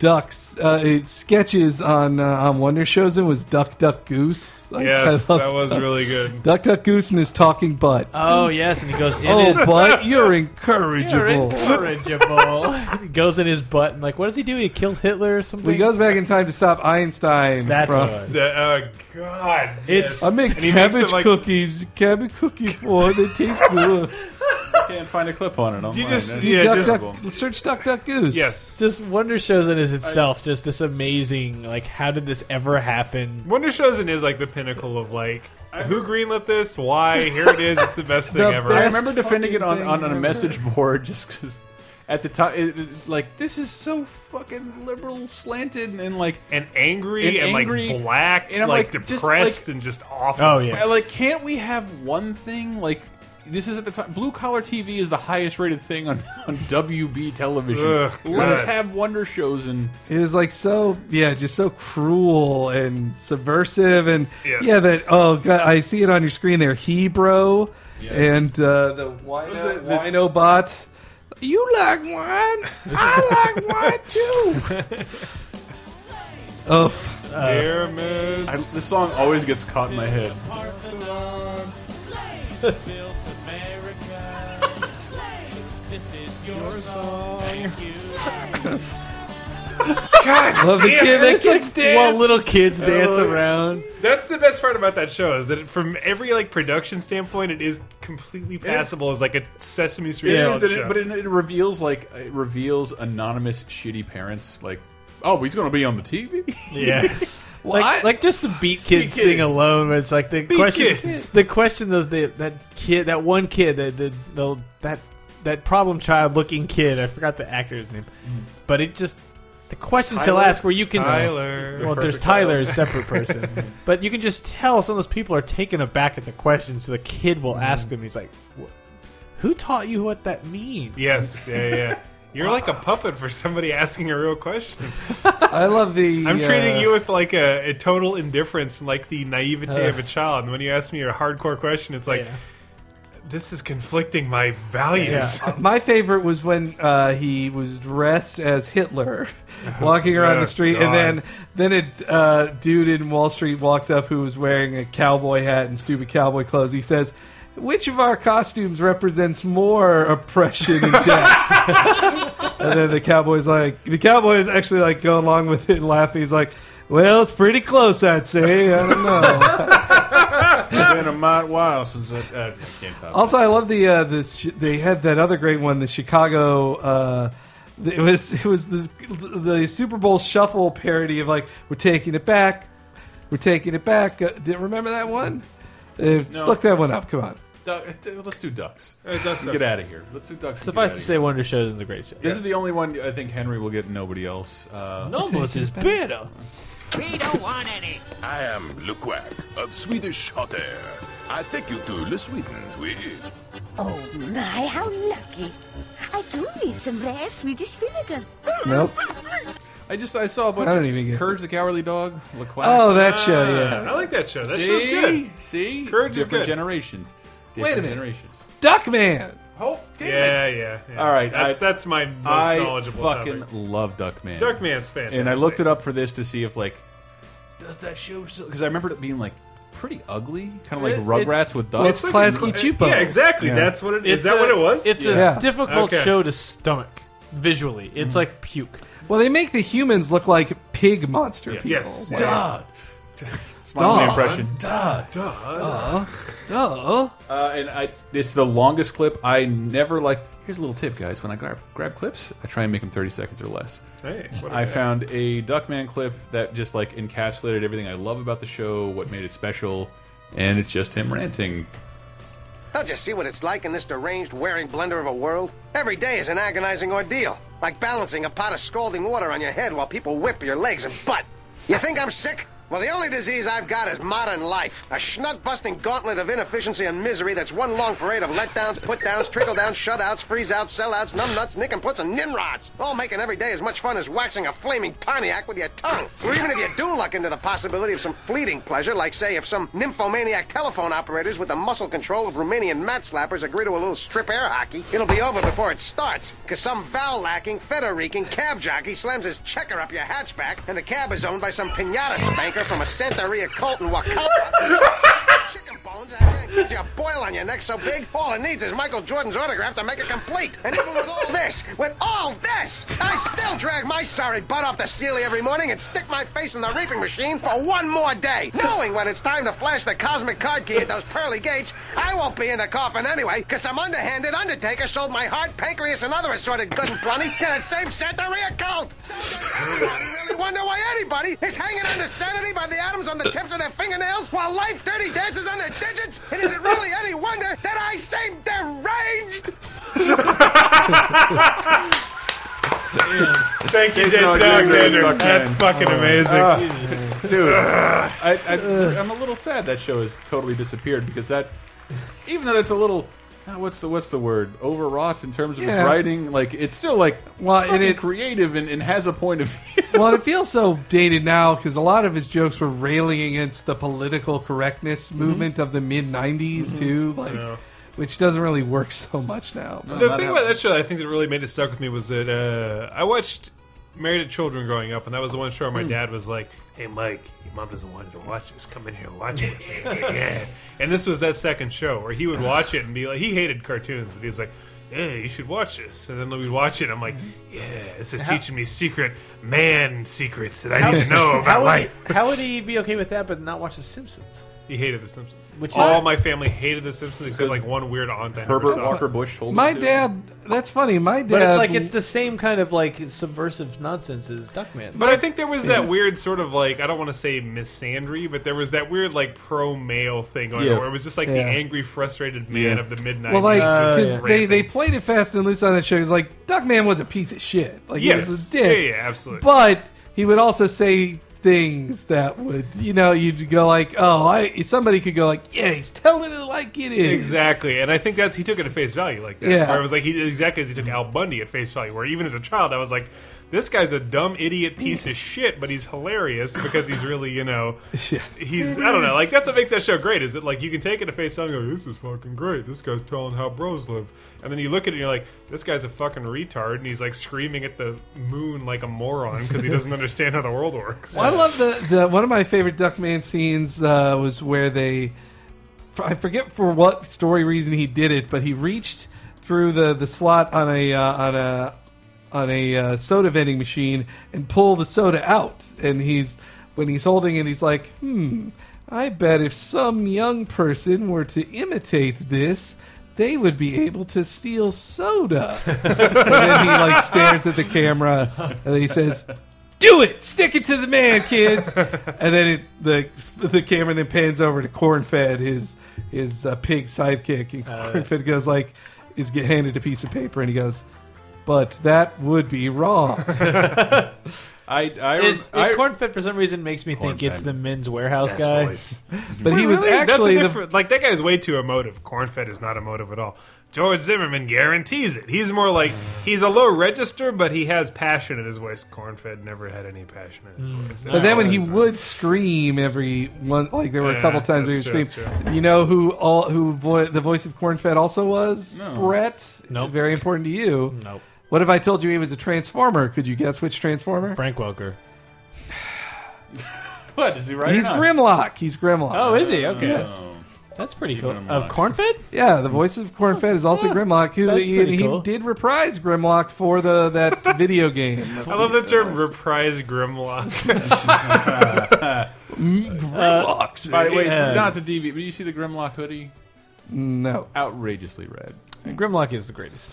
E: ducks uh, it- sketches on uh, on Wonder Shows was Duck Duck Goose. I-
C: Yes,
E: I love
C: that was
E: Duck-
C: really good.
E: Duck Duck Goose and his talking butt.
F: Oh yes, and he goes. in
E: Oh,
F: his-
E: butt, you're incorrigible.
F: You're incorrigible. he goes in his butt and like, what does he do? He kills Hitler or something.
E: Well, he goes back in time to stop Einstein.
F: That's
E: from,
F: right.
C: The, uh, God,
E: It's I make
C: And he makes
E: cabbage
C: it like-
E: cookies. Cabbage cookie for they taste good.
D: Can't find a clip on it.
C: Do you
D: online.
C: just-
D: That's
C: do you duck-
D: terrible.
E: duck- search Duck Duck Goose.
C: Yes.
F: Just Wonder Shows in is itself just this amazing. Like, how did this ever happen?
C: Wonder Chosen is like the pinnacle of like who greenlit this? Why? Here it is. It's the best thing ever.
D: I remember defending it on,
C: fucking
D: on,
C: thing
D: on a
C: ever.
D: message board just because at the time, it, it- like, this is so fucking liberal slanted and, and, like.
C: And angry and, like black
D: and I'm
C: like,
D: like,
C: depressed
D: just, like- Oh,
C: and just awful.
D: I- Like, can't we have one thing? Like, this is at the time. Blue collar TV is the highest rated thing on, on WB television.
E: Ugh,
D: Let us
E: God.
D: have Wonder Shows and.
E: It was like so, yeah, just so cruel and subversive, and
D: Yes.
E: yeah, that oh god, I see it on your screen there, Hebro, and uh, the wino, wino bot. You like wine? I like wine too. oh, f-
D: I, this song always gets caught in my head.
J: This is your song.
C: God,
E: Love the
C: damn
E: kid-
C: it.
E: the kids dance.
F: While little kids
C: Oh,
F: dance
C: yeah.
F: around.
C: That's the best part about that show is that it, from every like production standpoint, it is completely passable as like a Sesame Street.
D: It
C: reality
D: is, and
C: show.
D: it, but it, it reveals like it reveals anonymous shitty parents. Like, oh, he's gonna be on the TV.
F: Yeah. like, like just the beat kids,
D: Beat Kids.
F: thing alone, where it's like the
D: Beat
F: question,
D: Kids.
F: the question those the, that kid, that one kid, the, the, the that that problem child looking kid. I forgot the actor's name, but it just the questions he'll
C: Tyler?
F: ask where you can s-
C: Tyler.
F: Well,
C: The
F: there's
C: perfect
F: Tyler,
C: Tyler.
F: a separate person, but you can just tell some of those people are taken aback at the question. So the kid will ask them, he's like, "Wh- "Who taught you what that means?"
C: yes, yeah, yeah. You're like a puppet for somebody asking a real question.
E: I love the.
C: I'm
E: uh,
C: treating you with like a, a total indifference and like the naivete of a child. And when you ask me a hardcore question, it's like, this is conflicting my values.
E: Yeah. My favorite was when uh, he was dressed as Hitler, walking around
C: Oh,
E: the street,
C: God.
E: and then then a uh, dude in Wall Street walked up who was wearing a cowboy hat and stupid cowboy clothes. He says. Which of our costumes represents more oppression and death? and then the cowboy's like, the cowboy's actually like going along with it and laughing. He's like, "Well, it's pretty close, I'd say. I don't know."
D: been a might while since I, I can't talk.
E: Also, I love the uh, the sh- they had that other great one, the Chicago. Uh, it was it was the the Super Bowl Shuffle parody of like we're taking it back, we're taking it back. Uh, did, remember that one? Uh, just
D: No.
E: Look that one up. Come on.
D: Duck, uh, let's do ducks.
F: All right, ducks,
D: Get
F: ducks.
D: out of here. Let's do ducks. and get
F: Suffice
D: outta
F: to
D: here.
F: say, Wonder Shows is a great show.
D: This is the only one I think Henry will get. Nobody else. Uh,
F: Numbers is better.
N: We don't want any.
O: I am Lukwak of Swedish Hot Air. I take you to Sweden with
P: Oh my, how lucky. I do need some rare Swedish vinegar.
E: Nope.
D: I just I saw a bunch.
E: I don't even get.
D: Courage the Cowardly Dog. LaQuack.
E: Oh, that show, yeah.
C: I like that show. That
D: See?
C: show's good.
D: See,
C: Courage is
D: different
C: good.
D: generations. Different
C: Wait a minute.
D: generations.
E: Duckman.
D: Oh, damn
C: yeah,
D: it.
C: yeah, yeah.
D: All right,
C: That-
D: I-
C: that's my most
D: I
C: knowledgeable
D: fucking
C: topic.
D: love Duckman.
C: Duckman's fantastic.
D: And I looked it up for this to see if like does that show still? Because I remembered it being like pretty ugly, kind of like
F: It- it-
D: Rugrats with ducks.
F: Well, it's Klasky Chupo.
C: Yeah, exactly. That's what it is.
F: It's
C: that
F: a-
C: what it was?
F: It's
E: Yeah. Mm-hmm.
F: a difficult
E: Okay.
F: show to stomach visually. It's like puke.
E: Well, they make the humans look like pig monster people.
D: Oh
F: Yes.
E: Wow.
F: Duh.
D: It's my only impression.
E: Duh.
C: Duh.
E: Duh. Duh.
D: Uh, and I, it's the longest clip. I never like. Here's a little tip, guys. When I grab, grab clips, I try and make them 30 seconds or less.
C: Hey,
F: Oh,
C: what
D: I
C: a-
D: found a Duckman clip that just like encapsulated everything I love about the show, what made it special, and it's just him ranting.
Q: Don't you see what it's like in this deranged, wearing blender of a world? Every day is an agonizing ordeal, like balancing a pot of scalding water on your head while people whip your legs and butt. You think I'm sick? Well, the only disease I've got is modern life. A schnut busting gauntlet of inefficiency and misery that's one long parade of letdowns, put downs, trickle downs, shutouts, freeze outs, sellouts, numbnuts, nick and puts, and nimrods. All making every day as much fun as waxing a flaming Pontiac with your tongue. Or even if you do luck into the possibility of some fleeting pleasure, like, say, if some nymphomaniac telephone operators with the muscle control of Romanian mat slappers agree to a little strip air hockey, it'll be over before it starts, because some vowel lacking, feta reeking cab jockey slams his checker up your hatchback, and the cab is owned by some pinata spanker from a Santeria cult in Wakapa. Chicken bones, I think, you a boil on your neck so big, all it needs is Michael Jordan's autograph to make it complete. And even with all this, with all this, I still drag my sorry butt off the Sealy every morning and stick my face in the reaping machine for one more day, knowing when it's time to flash the cosmic card key at those pearly gates, I won't be in the coffin anyway, because some underhanded undertaker sold my heart, pancreas, and other assorted good and plenty to that same Santeria cult. Sometimes I really wonder why anybody is hanging on to sanity by the atoms on the tips of their fingernails while life dirty dances on their digits, and is it really any wonder that I seem deranged?
C: Thank you,
D: Jason
C: Jason
D: Alexander.
C: Alexander.
D: Duckman.
C: That's fucking
D: Oh.
C: amazing.
D: Ah, dude, I, I, I'm a little sad that show has totally disappeared because that, even though that's a little. ah, What's the what's the word? Overwrought in terms of its
E: Yeah.
D: writing, like it's still like
E: well,
D: and it creative and, and has a point of view.
E: well, it feels so dated now because a lot of his jokes were railing against the political correctness movement of the mid '90s too, like
C: Mm-hmm. Yeah.
E: which doesn't really work so much now. but-
C: the thing about that show that I think that really made it stuck with me was that uh, I watched Married at Children growing up, and that was the one show where my
F: Hmm.
C: dad was like, "Hey, Mike, your mom doesn't want you to watch this. Come in here and watch it with me." yeah. And this was that second show where he would watch it and be like, he hated cartoons, but he was like. Yeah, you should watch this, and then we'd watch it. and I'm like, yeah, this is
F: How-
C: teaching me secret man secrets that I need to know about
F: how
C: life.
F: Would, how would he be okay with that but not watch The Simpsons?
C: He hated The Simpsons.
F: Which is-
C: all my family hated The Simpsons except like one weird aunt. I never
D: Herbert
C: saw.
D: Walker Bush told
E: my dad, that's funny. My dad,
F: But it's like it's the same kind of like subversive nonsense as Duckman.
C: But I think there was that weird sort of like I don't want to say misandry, but there was that weird like pro male thing going
D: Yeah.
C: on where it was just like the
E: Yeah.
C: angry, frustrated man
D: Yeah.
C: of the mid nineties.
E: well, like uh, 'cause they they played it fast and loose on that show. It's like Duckman was a piece of shit. Like he was
C: Yes.
E: a dick.
C: Yeah, yeah, absolutely.
E: But he would also say things that would you know you'd go like, oh, I somebody could go like, yeah, he's telling it like it is.
C: exactly, and I think that's he took it at face value like that.
E: Yeah.
C: Where it was like he exactly as he took Al Bundy at face value. Where even as a child, I was like, this guy's a dumb idiot piece of shit, but he's hilarious because he's really you know he's I don't know like that's what makes that show great is that like you can take it at face value and go this is fucking great this guy's telling how bros live and then you look at it and you're like this guy's a fucking retard and he's like screaming at the moon like a moron because he doesn't understand how the world works.
E: Well, I love the, the one of my favorite Duckman scenes uh, was where they I forget for what story reason he did it, but he reached through the, the slot on a uh, on a on a uh, soda vending machine and pulled the soda out, and he's when he's holding it, he's like, hmm. I bet if some young person were to imitate this, they would be able to steal soda. and then he like stares at the camera and then he says, "Do it! Stick it to the man, kids!" and then it, the the camera then pans over to Cornfed, his his uh, pig sidekick, and
F: Uh,
E: Cornfed goes like, is get handed a piece of paper, and he goes, "But that would be wrong."
D: I, I,
F: Is,
D: I-
F: Cornfed for some reason makes me think it's the men's warehouse
E: Best
F: guy.
E: voice. But he was actually the-
C: That's a different, like that guy's way too emotive. Cornfed is not emotive at all. George Zimmerman guarantees it. He's more like he's a low register, but he has passion in his voice. Cornfed never had any passion in his voice.
E: But then when he would scream every one, like there were a
C: Yeah,
E: couple times where he
C: that's
E: would
C: true,
E: scream. You know who all who vo- the voice of Cornfed also was?
C: No.
E: Brett.
F: Nope.
E: Very important to you.
F: Nope.
E: What if I told you he was a transformer? Could you guess which transformer?
F: Frank Welker.
D: what is he right?
E: He's Grimlock. He's Grimlock.
F: Oh, is he? Okay.
E: Yes.
F: That's pretty cool. Of Cornfed?
E: Yeah, the voice of Cornfed is also Grimlock, who
F: that's
E: he,
F: pretty
E: he
F: cool.
E: did reprise Grimlock for the that video game.
C: I love the term reprise Grimlock.
E: Grimlocks.
D: Uh, by the way,
F: Yeah.
D: not the DV. But you see the Grimlock hoodie?
E: No.
D: Outrageously red.
F: Grimlock is the greatest.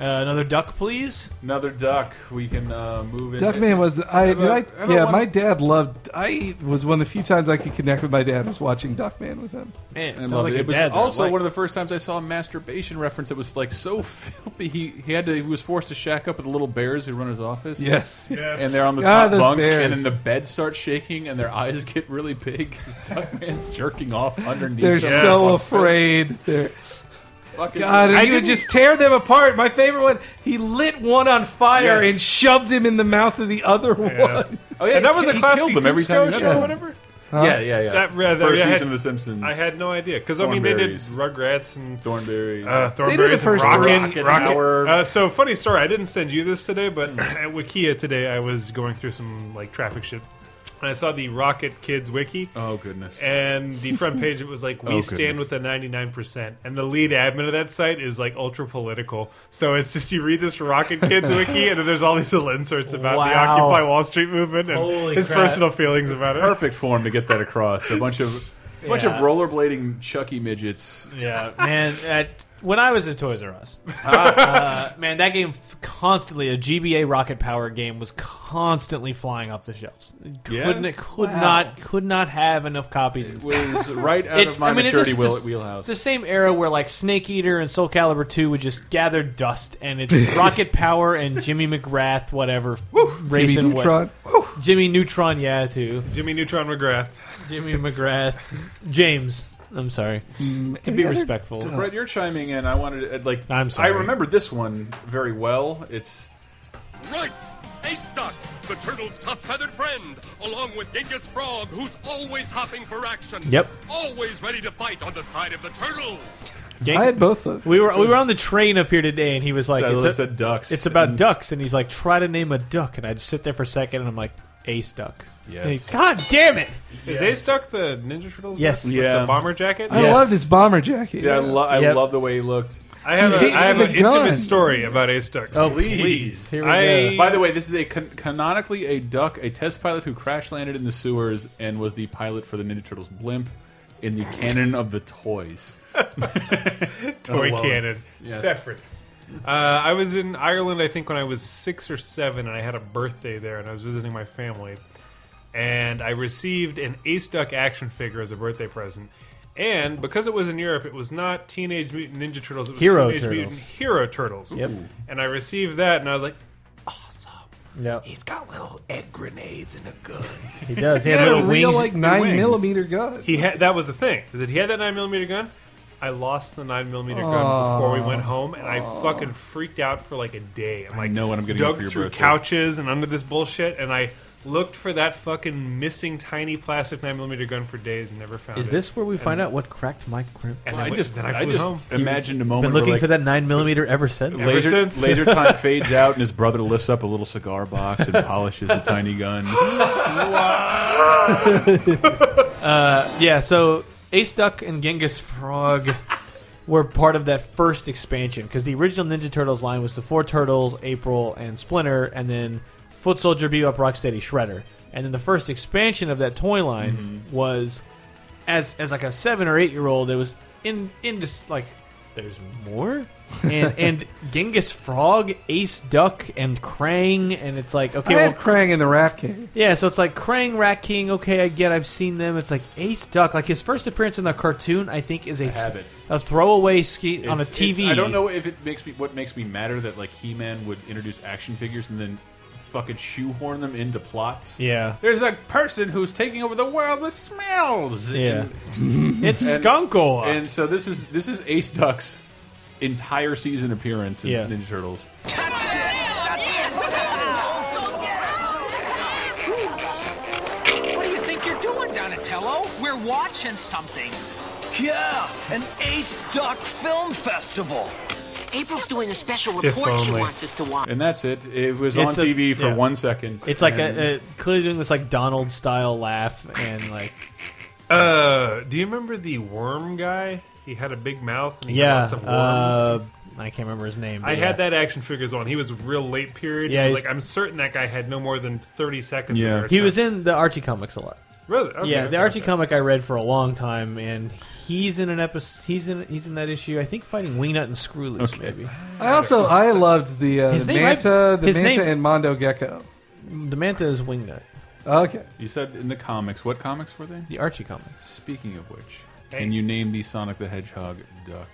F: Uh, another duck, please.
D: Another duck. We can uh, move in.
E: Duckman was I
D: How
E: did I,
D: about- how about
E: yeah
D: one-
E: my dad loved I was one of the few times I could connect with my dad was watching Duckman with him.
F: Man,
D: I love it. It was also one of the first times I saw a masturbation reference that was like so filthy. He he had to he was forced to shack up with the little bears who run his office.
E: Yes. Yes.
D: and they're on the
E: God,
D: top
E: Ah, those
D: bunks,
E: bears.
D: and then the bed starts shaking, and their eyes get really big. 'cause Duckman's jerking off underneath.
E: They're
D: them.
E: so afraid. They're
D: Fucking-
E: God, and
D: I
E: he would
D: didn't-
E: just tear them apart. My favorite one, he lit one on fire
D: Yes.
E: and shoved him in the mouth of the other one.
D: Oh yeah,
C: and that
D: he-
C: was a
D: he
C: classic
D: killed them every time. he
C: show,
D: met
C: show
D: them.
C: or whatever.
D: Huh? Yeah, yeah, yeah.
C: That, yeah, that-
D: First
C: I had-
D: season of The Simpsons.
C: I had no idea because I mean they did Rugrats and
D: Thornberry.
C: Uh,
E: They did the
C: Thornberry's
E: first
C: Rocket,
E: Rocket
C: Rocket.
E: Hour.
C: Uh, so funny story. I didn't send you this today, but at Wikia today, I was going through some like traffic shit, and I saw the Rocket Kids wiki.
D: Oh goodness!
C: And the front page, it was like we
D: Oh,
C: stand
D: goodness.
C: with the ninety nine percent, and the lead admin of that site is like ultra political. So it's just you read this Rocket Kids wiki, and then there's all these little inserts about the
F: Wow.
C: Occupy Wall Street movement and
F: Holy
C: his
F: crap.
C: personal feelings about it.
D: perfect form to get that across. A bunch of a bunch of
F: Yeah.
D: rollerblading Chucky midgets.
F: Yeah, man. At, when I was at Toys R Us, uh, man, that game f- constantly a GBA Rocket Power game was constantly flying off the shelves.
D: Yeah?
F: Couldn't it could
D: Wow.
F: not could not have enough copies. It
D: was right out of my maturity wheel- wheelhouse.
F: The same era where like Snake Eater and Soul Calibur two would just gather dust, and it's Rocket Power and Jimmy McGrath, whatever racing
E: Jimmy
F: what-
E: Neutron.
F: Jimmy Neutron, yeah, too.
C: Jimmy Neutron McGrath.
F: Jimmy McGrath, James. I'm sorry.
D: Mm,
F: to be respectful,
D: Brett, you're chiming in. I wanted to, uh, like
F: I'm sorry.
D: I remember this one very well. It's
R: Right! Ace Duck, the turtle's top feathered friend, along with Dingus Frog, who's always hopping for action.
F: Yep.
R: Always ready to fight on the side of the turtle.
E: I had both those.
F: We were we were on the train up here today, and he was like,
D: So I
F: "It's
D: looked at ducks
F: It's about
D: and-
F: ducks, and he's like, "Try to name a duck." And I just sit there for a second, and I'm like, "Ace duck."
D: Yes.
F: And he, God damn it!
C: Is Ace Duck the Ninja Turtles?
F: Yes.
C: with
D: Yeah.
C: the bomber jacket.
E: I loved his bomber jacket.
D: dude, I, lo I
C: Yep.
D: love the way he looked.
C: I have,
E: He hit
C: a, I have
E: with
C: an
E: a gun.
C: intimate story about Ace Duck.
F: Oh, Here we
C: I- go.
D: By the way, this is a con canonically a duck, a test pilot who crash landed in the sewers and was the pilot for the Ninja Turtles blimp in the canon of the toys.
C: Toy
D: Alone.
C: cannon.
D: Yes.
C: Separate. Uh, I was in Ireland, I think, when I was six or seven, and I had a birthday there, and I was visiting my family. And I received an Ace Duck action figure as a birthday present. And because it was in Europe, it was not Teenage Mutant Ninja Turtles. It was
F: Hero
C: Teenage
F: Turtles.
C: Mutant Hero Turtles.
F: Yep.
C: And I received that, and I was like, awesome.
F: Yeah,
C: He's got little egg grenades and a gun.
F: he does. He,
E: He
F: had,
E: had a
F: little
E: real
F: wings.
E: like nine millimeter gun.
C: He had that was the thing. That he had that nine millimeter gun. I lost the nine millimeter gun
E: Aw.
C: before we went home, and I fucking freaked out for like a day. I'm
D: I
C: like,
D: know what I'm gonna get
C: dug
D: for your
C: through
D: birthday.
C: couches and under this bullshit, and I looked for that fucking missing tiny plastic nine millimeter gun for days and never found it.
F: Is this where we
C: And-
F: find out what cracked Mike Grim?
C: And
D: Well,
C: then
D: I
C: I
D: just-
C: just then I
D: I
C: flew
D: just
C: home.
D: imagined a moment
F: Been
D: where,
F: looking
D: like-
F: for that nine millimeter ever since.
C: Ever
D: laser,
C: since.
D: laser time fades out, and his brother lifts up a little cigar box and polishes a tiny gun.
F: Uh, yeah, so Ace Duck and Genghis Frog were part of that first expansion because the original Ninja Turtles line was the four turtles, April, and Splinter, and then Foot Soldier, Bebop, Rocksteady, Shredder. And then the first expansion of that toy line was as as like a seven or eight year old, it was in in just like there's more and and Genghis Frog, Ace Duck, and Krang, and it's like okay,
E: I
F: well,
E: had Krang in the Rat King.
F: yeah, so it's like Krang, Rat King. Okay, I get. I've seen them. It's like Ace Duck. Like his first appearance in the cartoon, I think, is a
D: have it.
F: a throwaway ski on a
D: It's- it's-
F: TV.
D: I don't know if it makes me what makes me madder that like He-Man would introduce action figures and then fucking shoehorn them into plots.
F: Yeah.
D: There's a person who's taking over the world with smells.
F: Yeah.
D: And-
F: It's
D: and-
F: Skunkola.
D: And so this is this is Ace Duck's entire season appearance in
F: Yeah.
D: Ninja Turtles.
N: What do you think you're doing, Donatello? We're watching something.
S: Yeah, an Ace Duck Film Festival.
N: April's doing a special
D: If
N: report she
D: only.
N: wants us to watch.
D: And that's it. It was
F: It's
D: on
F: a-
D: TV for
F: yeah.
D: one second.
F: It's like
D: And-
F: a, a clearly doing this like Donald style laugh and like
C: Uh, do you remember the worm guy? He had a big mouth and he had
F: yeah,
C: lots of worms.
F: uh, I can't remember his name. but
C: I
F: yeah.
C: had that action figures on. He was real late period.
F: Yeah,
C: Yeah, was
F: he's-
C: like I'm certain that guy had no more than thirty seconds. of air
F: he
C: time.
F: was in the Archie comics a lot.
C: Really? Okay,
F: yeah,
C: okay,
F: the Archie
C: okay.
F: comic I read for a long time, and he's in an episode. He's in he's in that issue. I think fighting Wingnut and Screwloose, maybe.
E: I also I loved the, uh,
F: His
E: the
F: name-
E: Manta, the
F: his
E: Manta,
F: name-
E: and Mondo Gecko.
F: The Manta is Wingnut.
E: Okay.
D: You said in the comics. What comics were they?
F: The Archie comics.
D: Speaking of which,
F: Hey.
D: can you name the Sonic the Hedgehog duck?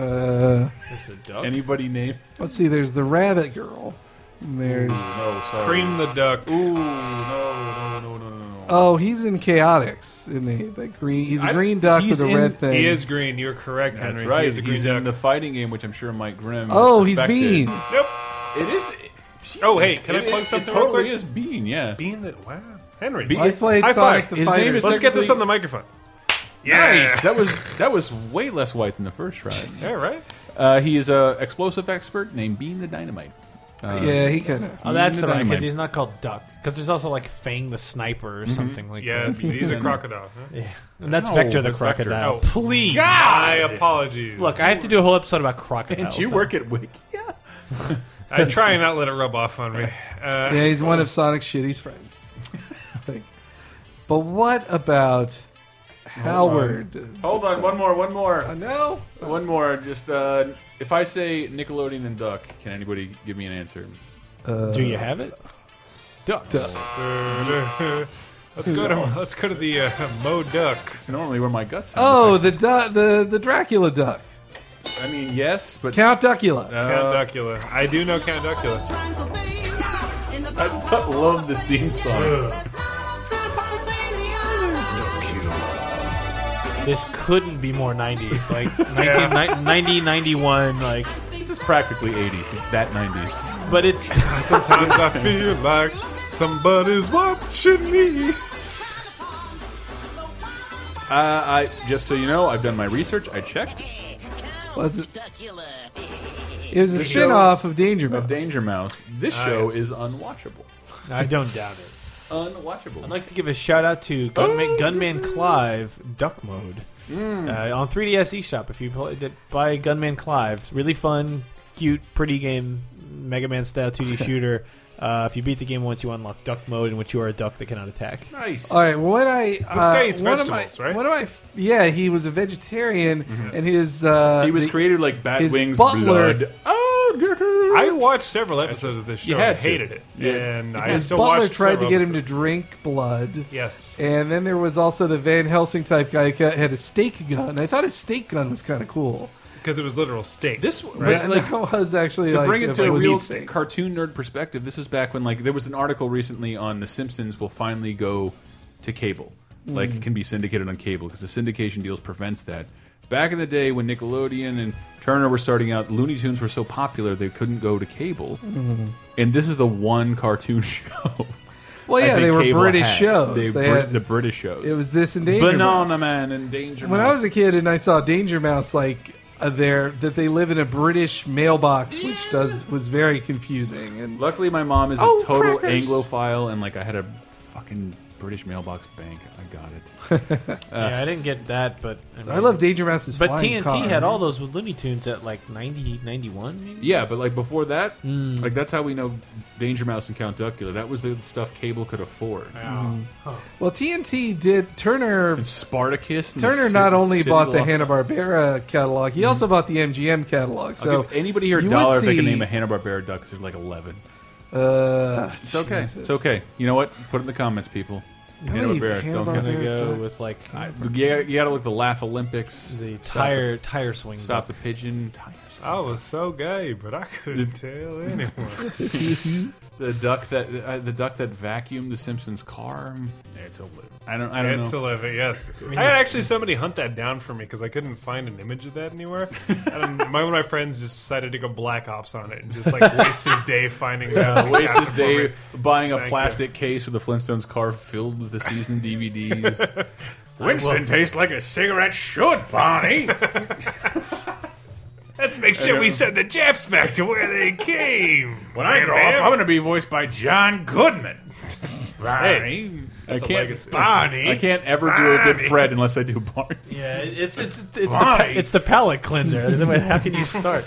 E: Uh,
F: It's a duck?
D: Anybody name?
E: let's see. There's the Rabbit Girl. And There's
D: No, sorry.
C: Cream the duck.
D: Ooh, no, no, no, no, no, no.
E: oh, he's in Chaotix. In the, the green, he's a
D: I-
E: green duck with
D: he's
E: a
D: in-
E: red thing.
C: He is green. You're correct,
D: That's
C: Henry.
D: right.
C: He is a green
D: he's
C: duck.
D: in the fighting game, which I'm sure Mike Grimm.
E: Oh,
D: is
E: he's
D: perfected.
E: Bean.
C: Nope.
D: It is.
C: Oh, hey, can
D: It-
C: I plug
D: it-
C: something?
D: It totally
C: real quick?
D: is Bean. Yeah.
C: Bean that wow. Henry,
D: Bean-
C: high
D: I played
C: five.
D: Sonic the His name Fighter. is
C: Let's get this
D: technically-
C: on the microphone.
D: Nice. That was that was way less white than the first try.
C: Yeah, right.
D: Uh, he is a explosive expert named Bean the Dynamite. Uh,
E: Yeah, he could-
F: Oh,
D: Bean
F: that's the
C: Mm-hmm.
D: the
F: because
D: Dynamite.
F: he's not called Duck. Because there's also like Fang the Sniper or
D: Mhm.
F: something like
C: Mm-hmm. Yes,
F: that.
C: he's a crocodile, huh?
F: Yeah, and that's
C: No,
F: Vector the
C: that's Vector.
F: crocodile.
C: Oh.
F: Please,
C: God! My apologies.
F: Look, I have to do a whole episode about crocodiles.
C: And you
F: now.
C: work at Wiki. I try and not let it rub off on me. Uh,
E: yeah, he's one of Sonic's shittiest friends. I think. But what about um, Howard?
D: Hold on, one more, one more.
E: Uh, no,
D: one more. Just uh, if I say Nickelodeon and Duck, can anybody give me an answer?
E: Uh,
F: Do you have it? Ducks.
C: let's go to let's go to the uh, Mo Duck.
D: It's normally where my guts.
E: Oh, the du- the the Dracula duck,
D: I mean, yes, but
E: Count Duckula.
D: Uh,
C: Count Duckula. I do know Count Duckula.
D: I th- love this theme song.
F: This couldn't be more 90s. Like 1990, 91, like
D: this is practically 80s. It's that 90s.
F: But it's
C: Sometimes I feel like somebody's watching me.
D: Uh, I just so you know, I've done my research. I checked.
E: What's it? It was a spin-off of Danger Mouse.
D: Of Danger Mouse. This
F: Nice.
D: show is unwatchable.
F: I don't doubt it.
D: Unwatchable.
F: I'd like to give a shout out to Gunman, Gunman Clive Duck Mode
D: Oh, Mm.
F: uh, on 3DS eShop. If you play, did- buy Gunman Clive, really fun, cute, pretty game, Mega Man style 2D shooter. Uh, if you beat the game once, you unlock Duck Mode, in which you are a duck that cannot attack.
D: Nice.
E: All right, what I this
C: guy eats
E: one
C: vegetables,
E: of my,
C: right?
E: One of my f- yeah, he was a vegetarian, and his uh,
D: Mm-hmm. He was
E: the-
D: created like
E: his
D: Batwing's
E: butler-
D: blood. Oh, get it.
C: I watched several episodes of this show.
D: You had
C: and
D: to.
C: hated it,
D: You had-
C: and
D: you
C: I
D: had-
E: His
C: still
E: butler
C: watched
E: tried to
C: several
E: get him to drink blood.
C: Yes.
E: And then there was also the Van Helsing type guy who had a steak gun. I thought his steak gun was kind of cool.
C: because it was literal steak.
D: This
E: But
D: but, like,
E: that was actually
D: to
E: like,
D: bring it
E: if
D: to
E: I
D: a
E: would
D: real
E: eat steaks.
D: cartoon nerd perspective, this is back when like there was an article recently on The Simpsons will finally go to cable, like
E: Mm.
D: it can be syndicated on cable because the syndication deals prevents that. Back in the day when Nickelodeon and Turner were starting out, Looney Tunes were so popular they couldn't go to cable,
E: Mhm.
D: and this is the one cartoon show.
E: Well,
D: I
E: yeah,
D: think
E: they were
D: cable
E: British
D: had.
E: shows.
D: They,
E: They
D: Brit-
E: had-
D: the British shows.
E: It was this and Danger
D: Banana
E: Mouse.
D: Man and Danger.
E: When I
D: Mouse.
E: was a kid and I saw Danger Mouse, like uh, there that they live in a British mailbox, which does was very confusing. And
D: Luckily, my mom is a
E: Oh,
D: total
E: crackers.
D: Anglophile, and like I had a fucking British mailbox bank. I got it. Uh,
F: yeah, I didn't get that, but
D: I love Danger Mouse's
F: But
D: flying
F: TNT
D: car.
F: had all those Looney Tunes at like 90, 91 maybe.
D: Yeah, but like before that,
E: Hmm.
D: like that's how we know Danger Mouse and Count Duckula. That was the stuff Cable could afford.
E: Mhm. Well, TNT did Turner
D: Spartacus. and the
E: Turner
D: Sid-
E: not only
D: Sid
E: bought the
D: Lost- Mm-hmm.
E: Hanna Barbera catalog, he also bought the MGM catalog.
D: I'll
E: So
D: give anybody here a
E: you
D: dollar
E: would
D: if they can
E: see-
D: name a Hanna Barbera duck. 'cause There's like eleven.
E: Uh,
D: It's okay.
E: Jesus.
D: It's okay. You know what? Put it in the comments, people.
E: How
D: Hanna
E: many
D: Barbera.
E: Hanna-Barbera
D: Don't get
F: go ducks? with, like,
D: I, yeah, you got to look at the Laugh Olympics, the
F: tire- tire swing
D: stop
F: duck.
D: the pigeon, tire
C: I was so gay, but I couldn't tell anyone.
D: the duck that uh, the duck that vacuumed the Simpsons car. It's a little. I don't. I don't
C: it's
D: know.
C: 11, yes. I,
D: mean,
C: had actually somebody hunt that down for me because I couldn't find an image of that anywhere. and my, one of my friends just decided to go Black Ops on it and just like waste his day finding out.
D: Yeah, waste his
C: for
D: day
C: me.
D: buying a
C: Thank you.
D: plastic case with the Flintstones car filled with the season DVDs.
C: Winston tastes
D: like a cigarette should, Barney.
C: Let's make
D: I
C: sure we
D: know.
C: send the Japs back to where they came.
D: When I grow up, I'm going to be voiced by John Goodman.
C: Barney.
D: I
C: That's a
D: can't.
C: legacy. Barney.
D: I can't ever do a good
C: Barney.
D: Fred unless I do Barney.
F: Yeah, it's it's it's the,
D: Why?
F: pa- it's the palate cleanser. How can you start?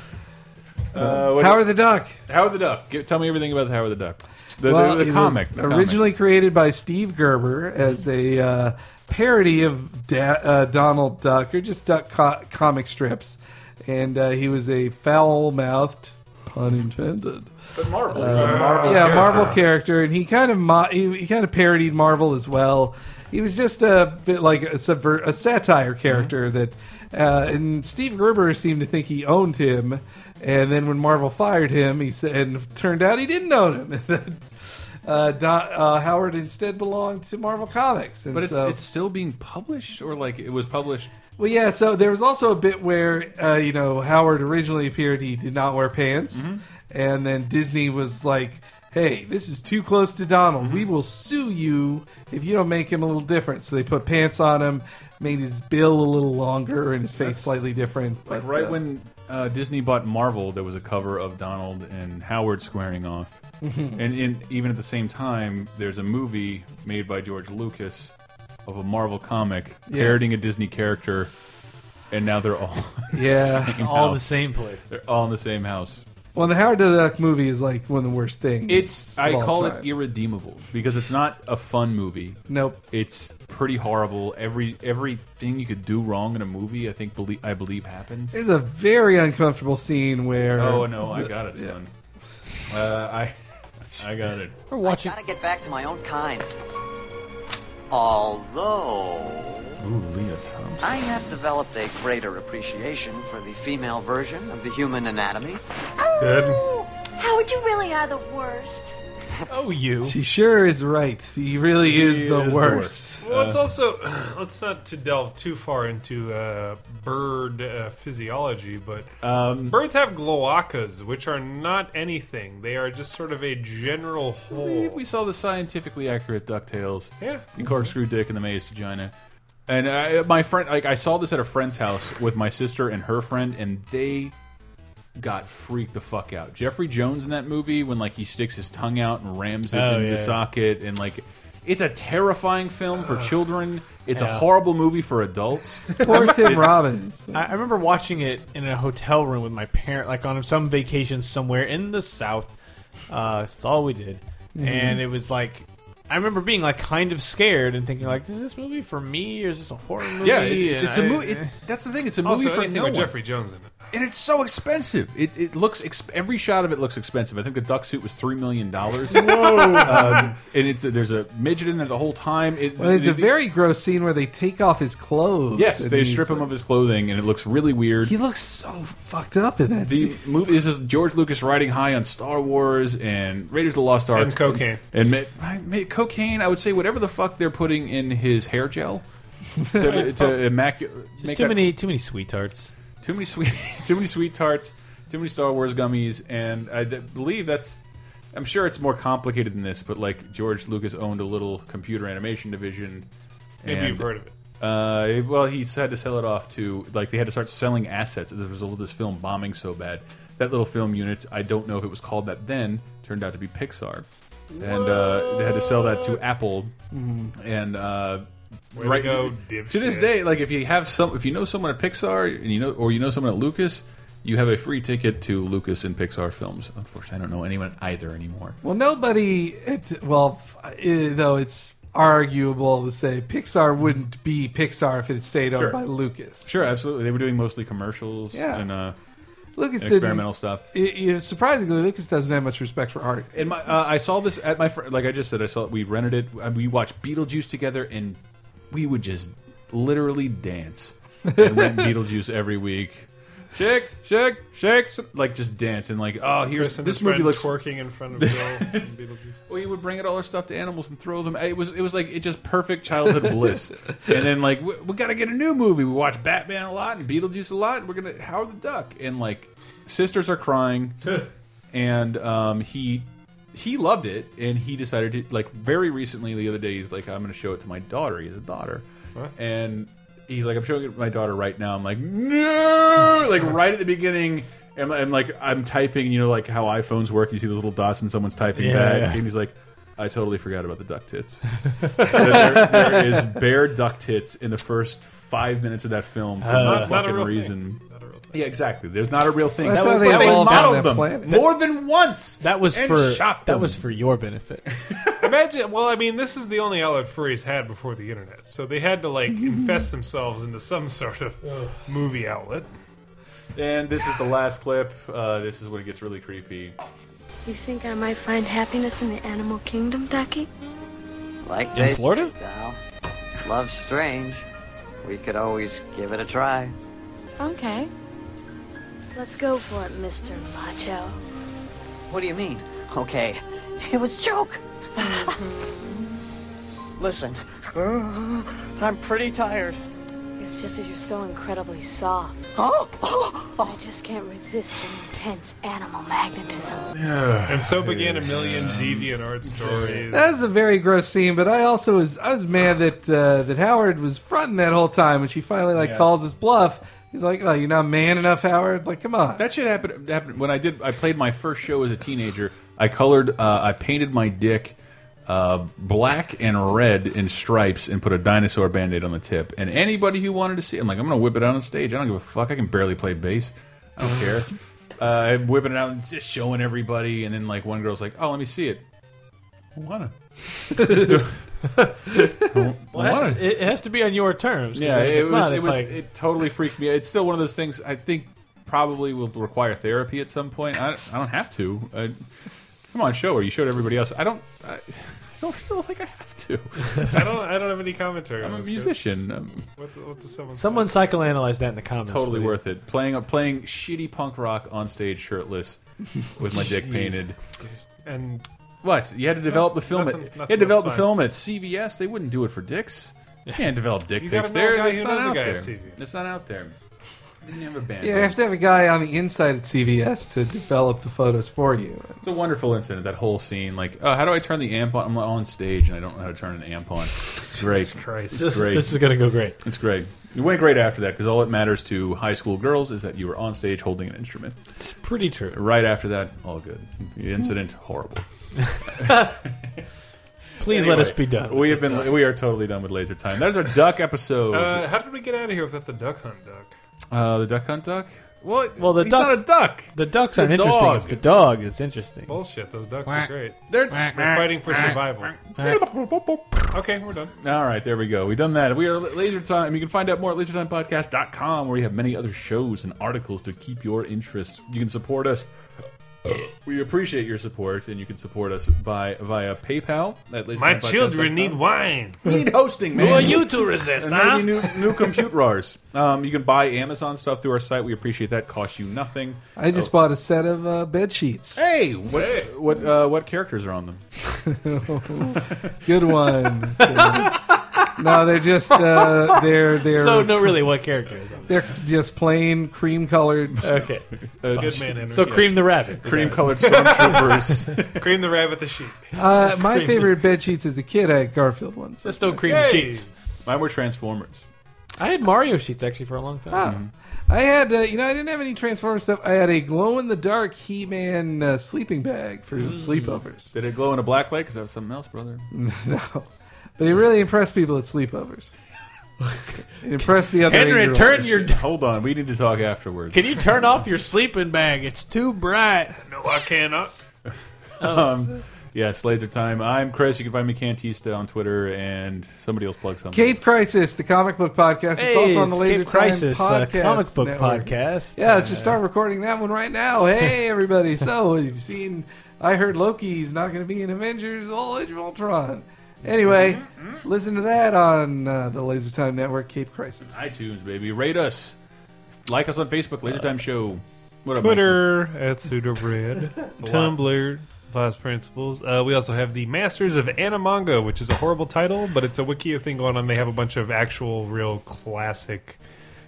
D: Uh, what-
E: Howard the Duck.
D: Howard the Duck. Give, tell me everything about the Howard the Duck. The,
E: Well,
D: the, the
E: it was
D: comic. the comic.
E: originally created by Steve Gerber as a uh, parody of da- uh, Donald Duck or just Duck co- comic strips, and uh, he was a foul-mouthed, pun intended,
D: But Marvel.
E: uh,
D: He's a Marvel
E: yeah,
D: character.
E: Marvel character, and he kind of mo- he, he kind of parodied Marvel as well. He was just a bit like a subvert a satire character
D: Mm-hmm.
E: that, uh, and Steve Gerber seemed to think he owned him. And then when Marvel fired him, he said, and turned out he didn't own him. And then uh, Don, uh, Howard instead belonged to Marvel Comics. And
D: But it's,
E: so,
D: it's still being published, or like it was published.
E: well, yeah. So there was also a bit where uh, you know Howard originally appeared he did not wear pants,
D: Mm-hmm.
E: and then Disney was like, "Hey, this is too close to Donald.
D: Mm-hmm.
E: We will sue you if you don't make him a little different." So they put pants on him, made his bill a little longer and his face slightly different.
D: Like
E: but,
D: right
E: uh,
D: when uh, Disney bought Marvel, there was a cover of Donald and Howard squaring off,
E: Mhm.
D: and in, even at the same time, there's a movie made by George Lucas of a Marvel comic
F: Yes.
D: parodying a Disney character, and now they're all in the
E: Yeah.
D: same
E: It's all the
D: house.
E: same place.
D: They're all in the same house.
E: well, the Howard the Duck movie is like one of the worst things.
D: It's
E: of
D: I
E: all
D: call
E: time.
D: it irredeemable because it's not a fun movie.
E: Nope.
D: It's pretty horrible. Every everything you could do wrong in a movie, I think believe I believe happens.
E: There's a very uncomfortable scene where.
D: Oh no, I got it, son. Uh, I I got it.
F: We're watching.
T: I gotta get back to my own kind. Although
D: Ooh, Leah Thompson.
T: I have developed a greater appreciation for the female version of the human anatomy.
C: Good.
A: Howard, you really are the worst.
F: Oh, you.
E: She sure is right. He really is, the, worst.
C: Well, it's also let's not to delve too far into uh, bird uh, physiology, but birds have gloacas, which are not anything. They are just sort of a general
D: We,
C: whole.
D: we saw the scientifically accurate Ducktales.
C: Yeah.
D: The corkscrew dick and the maze vagina. And I, my friend, like I saw this at a friend's house with my sister and her friend, and they got freaked the fuck out. Jeffrey Jones in that movie when like he sticks his tongue out and rams it
F: Oh,
D: in
F: yeah.
D: the socket, and like it's a terrifying film for children. It's a
F: Yeah.
D: horrible movie for adults.
E: Poor Tim Robbins.
F: I, I remember watching it in a hotel room with my parent, like on some vacation somewhere in the south. Uh, that's all we did,
D: Mm-hmm.
E: Mhm.
F: and it was like. I remember being like kind of scared and thinking like, is this movie for me or is this a horror movie?
D: Yeah, it-
F: And
D: it's a
F: I-
D: movie. It, that's the thing. It's a
C: Also,
D: movie for
C: anything
D: no
C: with
D: one.
C: Jeffrey Jones in it.
D: and it's so expensive. It, it looks exp every shot of it looks expensive. I think the duck suit was three million dollars. Uh, and it's there's a midget in there the whole time. It,
E: Well, there's a
D: the-
E: very gross scene where they take off his clothes.
D: yes,
E: and
D: they
E: he's
D: strip him
E: like-
D: of his clothing, and it looks really weird.
E: He looks so fucked up in that.
D: the movie this is George Lucas riding high on Star Wars and Raiders of the Lost Ark
C: And cocaine.
D: and, ma- I- ma- cocaine. I would say whatever the fuck they're putting in his hair gel to, to immaculate.
F: Just too many, too many sweethearts.
D: Too many sweet, too many sweet tarts, too many Star Wars gummies, and I d- believe that's. I'm sure it's more complicated than this, but like George Lucas owned a little computer animation division.
C: Maybe
D: and,
C: you've heard of it.
D: Uh, well, he had to sell it off to like they had to start selling assets as a result of this film bombing so bad. That little film unit, I don't know if it was called that then, turned out to be Pixar. and uh, they had to sell that to Apple.
E: Mhm.
D: And uh,
C: Way to go, dipshit.
D: to this day, like if you have some, if you know someone at Pixar and you know, or you know someone at Lucas, you have a free ticket to Lucas and Pixar films. Unfortunately, I don't know anyone at either anymore.
E: Well, nobody. It, well, f- eh, though it's arguable to say Pixar wouldn't be Pixar if it stayed owned
D: Sure.
E: by Lucas.
D: Sure, absolutely. They were doing mostly commercials
E: Yeah.
D: and uh,
E: Lucas didn't-
D: experimental stuff.
E: Eh, eh, surprisingly, Lucas doesn't have much respect for art.
D: And my, uh, I saw this at my friend. Like I just said, I saw we rented it. uh, We watched Beetlejuice together, and we would just literally dance and rent Beetlejuice every week. Shake, shake, shake, s- like just dance and like oh here's
C: Chris and
D: this
C: his
D: movie
C: friend
D: looks
C: twerking in front of Bill. and Beetlejuice.
D: We would bring out all our stuffed animals and throw them. It was it was like it just perfect childhood bliss. And then like we, we got to get a new movie. We watch Batman a lot and Beetlejuice a lot. And we're gonna Howard the Duck and like sisters are crying, and um, he he loved it and he decided to like very recently the other day he's like I'm gonna show it to my daughter. He has a daughter,
C: What?
D: and he's like I'm showing it to my daughter right now. I'm like no, like right at the beginning. And I'm like I'm typing, you know, like how iPhones work. You see those little dots, and someone's typing
C: Yeah,
D: back,
C: yeah.
D: and he's like, "I totally forgot about the duck tits." there, there is bare duck tits in the first five minutes of that film for
C: Uh,
D: no
C: Not- not a
D: fucking
C: real thing.
D: reason. Yeah, exactly. There's not a real thing.
F: That's
D: That
F: how
D: was-
F: they
D: but
F: evolved on
D: modeled
F: that
D: them
F: planet.
D: more than once.
F: That was
D: and
F: for
D: shot
F: that
D: them.
F: was for your benefit.
C: Imagine. Well, I mean, this is the only outlet furries had before the internet, so they had to like infest themselves into some sort of movie outlet.
D: And this is the last clip. Uh, this is when it gets really creepy.
U: You think I might find happiness in the animal kingdom, Ducky?
T: Like
U: In
T: they
U: Florida?
T: say, Thou, love's strange. We could always give it a try.
U: Okay. Let's go for it, Mr. Macho.
T: What do you mean? Okay, it was a joke. Listen, I'm pretty tired.
U: It's just that you're so incredibly soft.
T: Oh!
U: I just can't resist your intense animal magnetism.
C: and so began a million deviant art stories.
E: That was a very gross scene, but I also was I was mad that uh, that Howard was fronting that whole time when she finally like
D: Yeah.
E: calls his bluff. He's like, "Oh, you're not man enough, Howard. Like, come on."
D: That shit happened. Happened when I did. I played my first show as a teenager. I colored. Uh, I painted my dick uh, black and red in stripes and put a dinosaur band-aid on the tip. And anybody who wanted to see, it, I'm like, I'm gonna whip it out on stage. I don't give a fuck. I can barely play bass. I don't care. Uh, I'm whipping it out and just showing everybody. And then like one girl's like, Oh, let me see it. I wanna.
F: Well, it, has
D: Wanna.
F: to, it has to be on your terms. 'cause
D: Yeah,
F: if
D: it
F: it's
D: was.
F: not,
D: it
F: it's
D: was.
F: like-
D: it totally freaked me. out. It's still one of those things. I think probably will require therapy at some point. I, I don't have to. I, come on, show her. You showed everybody else. I don't. I, I don't feel like I have to.
C: I don't. I don't have any commentary.
D: I'm
C: on
D: a
C: this, Chris.
D: musician. Um,
C: What, the- what does someone?
F: Someone psychoanalyzed that in the comments.
D: totally
F: please.
D: worth it. Playing a playing shitty punk rock on stage, shirtless, with my dick
C: Jeez.
D: painted.
C: And
D: What you had to develop the film. at,
C: Nothing-
D: you had
C: nothing
D: to develop the
C: that's
D: film at CBS. They wouldn't do it for dicks. You can't develop dick
C: You gotta
D: pics
C: know a
D: there.
C: guy
D: It's
C: who
D: not
C: knows a
D: out
C: guy at
D: there.
C: CBS.
D: It's not out there. Didn't have a band.
E: Yeah, you have to have a guy on the inside at CVS to develop the photos for you.
D: It's a wonderful incident. That whole scene, like, oh, how do I turn the amp on? I'm "Oh, on stage and I don't know how to turn an amp on. It's great.
C: Christ.
D: It's
F: This-
D: great.
F: this is gonna go great.
D: It's great. It went great after that because all that matters to high school girls is that you were on stage holding an instrument. It's
F: pretty true.
D: Right after that, all good. The incident horrible.
F: Please let us be done with
D: We have been. We are totally done with laser time. That is our duck episode.
C: uh, how did we get out of here without the duck hunt duck?
D: Uh, the duck hunt duck. Well,
F: Well, the
D: he's
F: ducks.
D: not a duck.
F: The ducks
D: The
F: aren't interesting.
D: dog.
F: It's the dog that's interesting.
E: Oh,
C: Bullshit. Those ducks
D: Quack.
C: are great.
D: They're-
C: They're fighting for survival. Okay, we're done.
D: All right, there we go. We've done that. We are Laser Time. You can find out more at lasertimepodcast.com where we have many other shows and articles to keep your interest. You can support us. We appreciate your support, and you can support us by via PayPal at lasertimepodcast.com.
C: My children need wine.
D: We need hosting, man.
C: Who are you to resist,
D: And
C: huh?
D: maybe new, new computers. Um, you can buy Amazon stuff through our site. We appreciate that. Costs you nothing.
E: I
F: Oh.
E: just bought a set of uh, bed sheets.
D: Hey, what what uh, what characters are on them?
E: Good one. no, they're just uh, they're they're
F: So, no, really, what character is
E: They're just plain cream colored.
F: Okay.
C: Good man, Henry.
E: So Cream the Rabbit.
D: Uh, Cream-colored stormtroopers.
C: cream the rabbit, the sheep.
E: Uh, my
C: Cream-
E: favorite bed sheets as a kid, I had Garfield ones.
F: Just don't
C: cream the Hey. sheets.
D: Mine were Transformers.
F: I had Mario sheets actually for a long time.
E: Ah. I had, uh, you know, I didn't have any Transformers stuff. I had a glow in the dark He Man uh, sleeping bag for
F: Hmm.
D: Mm.
E: sleepovers.
D: Did it glow in a black light? Because that was something else, brother.
E: no. But it really impressed people at sleepovers. it impressed the other
F: Henry,
E: eight-year-olds.
F: turn your-
D: Hold on, we need to talk afterwards.
F: Can you turn off your sleeping bag? It's too bright.
C: No, I cannot.
D: um, yeah, Slade's your time. I'm Chris. You can find me Cantista on Twitter, and somebody else plug something.
E: Cape Crisis, the comic book podcast.
F: Hey,
E: it's also on the
F: it's
E: Laser
F: Cape
E: Time
F: Crisis, uh,
E: podcast
F: comic book
E: network.
F: podcast.
E: Yeah, let's just start recording that one right now. Hey, everybody! so you've seen? I heard Loki's not going to be in Avengers: All Age of Ultron. Anyway,
F: Mm-hmm,
E: listen to that on uh, the Laser Time Network. Cape Crisis.
D: iTunes, baby. Rate us. Like us on Facebook, Laser Time Show. What up,
C: Twitter at pseudobread,
D: a lot.
C: Tumblr, Vice Principles. Uh, we also have the Masters of Animanga, which is a horrible title, but it's a Wikia thing going on. They have a bunch of actual, real classic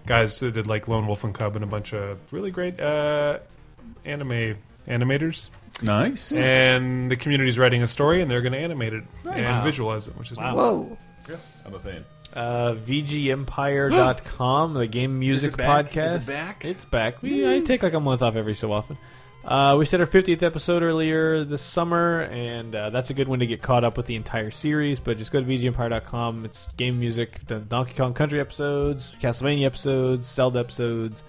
C: guys that did like Lone Wolf and Cub and a bunch of really great uh, anime animators.
D: Nice.
C: And the community's writing a story, and they're going to animate it
F: Nice.
C: and
F: Wow.
C: visualize it, which is
F: Wow.
E: Whoa.
D: Yeah, I'm a fan.
F: Uh, VGEmpire.com, the game music
D: it back?
F: podcast.
D: Is it back? Hmm.
F: It's back. We, I take like a month off every so often. Uh, we set our 50th episode earlier this summer, and uh, that's a good one to get caught up with the entire series. But just go to VGEmpire.com. It's game music, done Donkey Kong Country episodes, Castlevania episodes, Zelda episodes,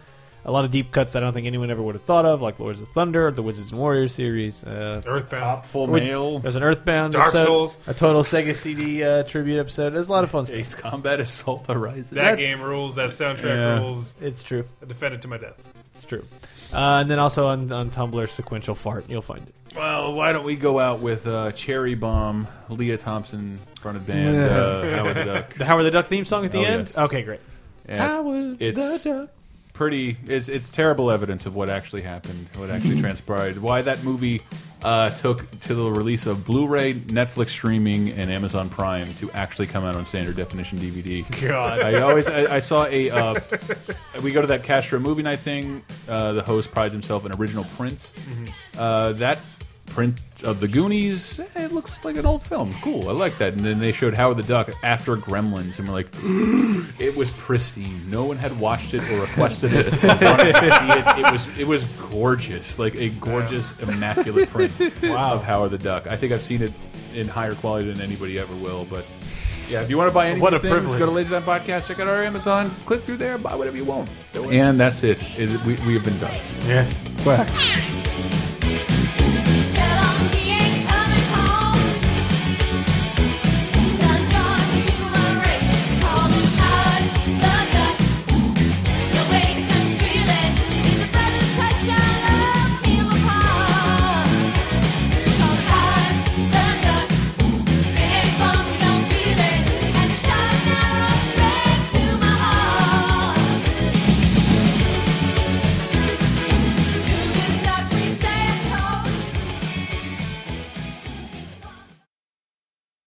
F: a lot of deep cuts I don't think anyone ever would have thought of, like Lords of Thunder, the Wizards and Warriors series. Uh,
C: Earthbound.
D: Full
F: we-
D: Mail.
F: There's an Earthbound.
D: Dark
F: episode,
D: Souls.
F: A Total Sega CD uh, tribute episode. There's a lot of fun stuff.
D: Ace Combat Assault Horizon.
C: That, game rules. That soundtrack
F: Yeah.
C: rules.
F: It's true.
C: I defend it to my death.
F: It's true. Uh, and then also on, on Tumblr, Sequential Fart. You'll find it.
D: Well, why don't we go out with uh, Cherry Bomb, Leah Thompson, fronted band,
F: Yeah.
D: uh, Howard the Duck.
F: The Howard the Duck theme song at the
D: Oh,
F: end?
D: yes.
F: Okay, great.
D: Yeah, it's-
F: Howard the
D: it's
F: Duck.
D: pretty. It's it's terrible evidence of what actually happened, what actually transpired, why that movie uh, took to the release of Blu-ray, Netflix streaming, and Amazon Prime to actually come out on standard definition DVD.
F: God.
D: I always I, I saw a. Uh, we go to that Castro movie night thing. Uh, the host prides himself in original prints. Uh, that print of the Goonies, eh, it looks like an old film. Cool, I like that. And then they showed Howard the Duck after Gremlins, and we're like, it was pristine. No one had watched it or requested it. or wanted to see it. It was it was gorgeous, like a gorgeous, immaculate print
F: Wow.
D: of Howard the Duck. I think I've seen it in higher quality than anybody ever will, but. Yeah, if you want to buy any
F: What
D: of these
F: a
D: things,
F: privilege.
D: go to Lazy Time Podcast, check out our Amazon, click through there, buy whatever you want. And that's it. Is- we, we have been done.
F: Yeah.
D: Quack.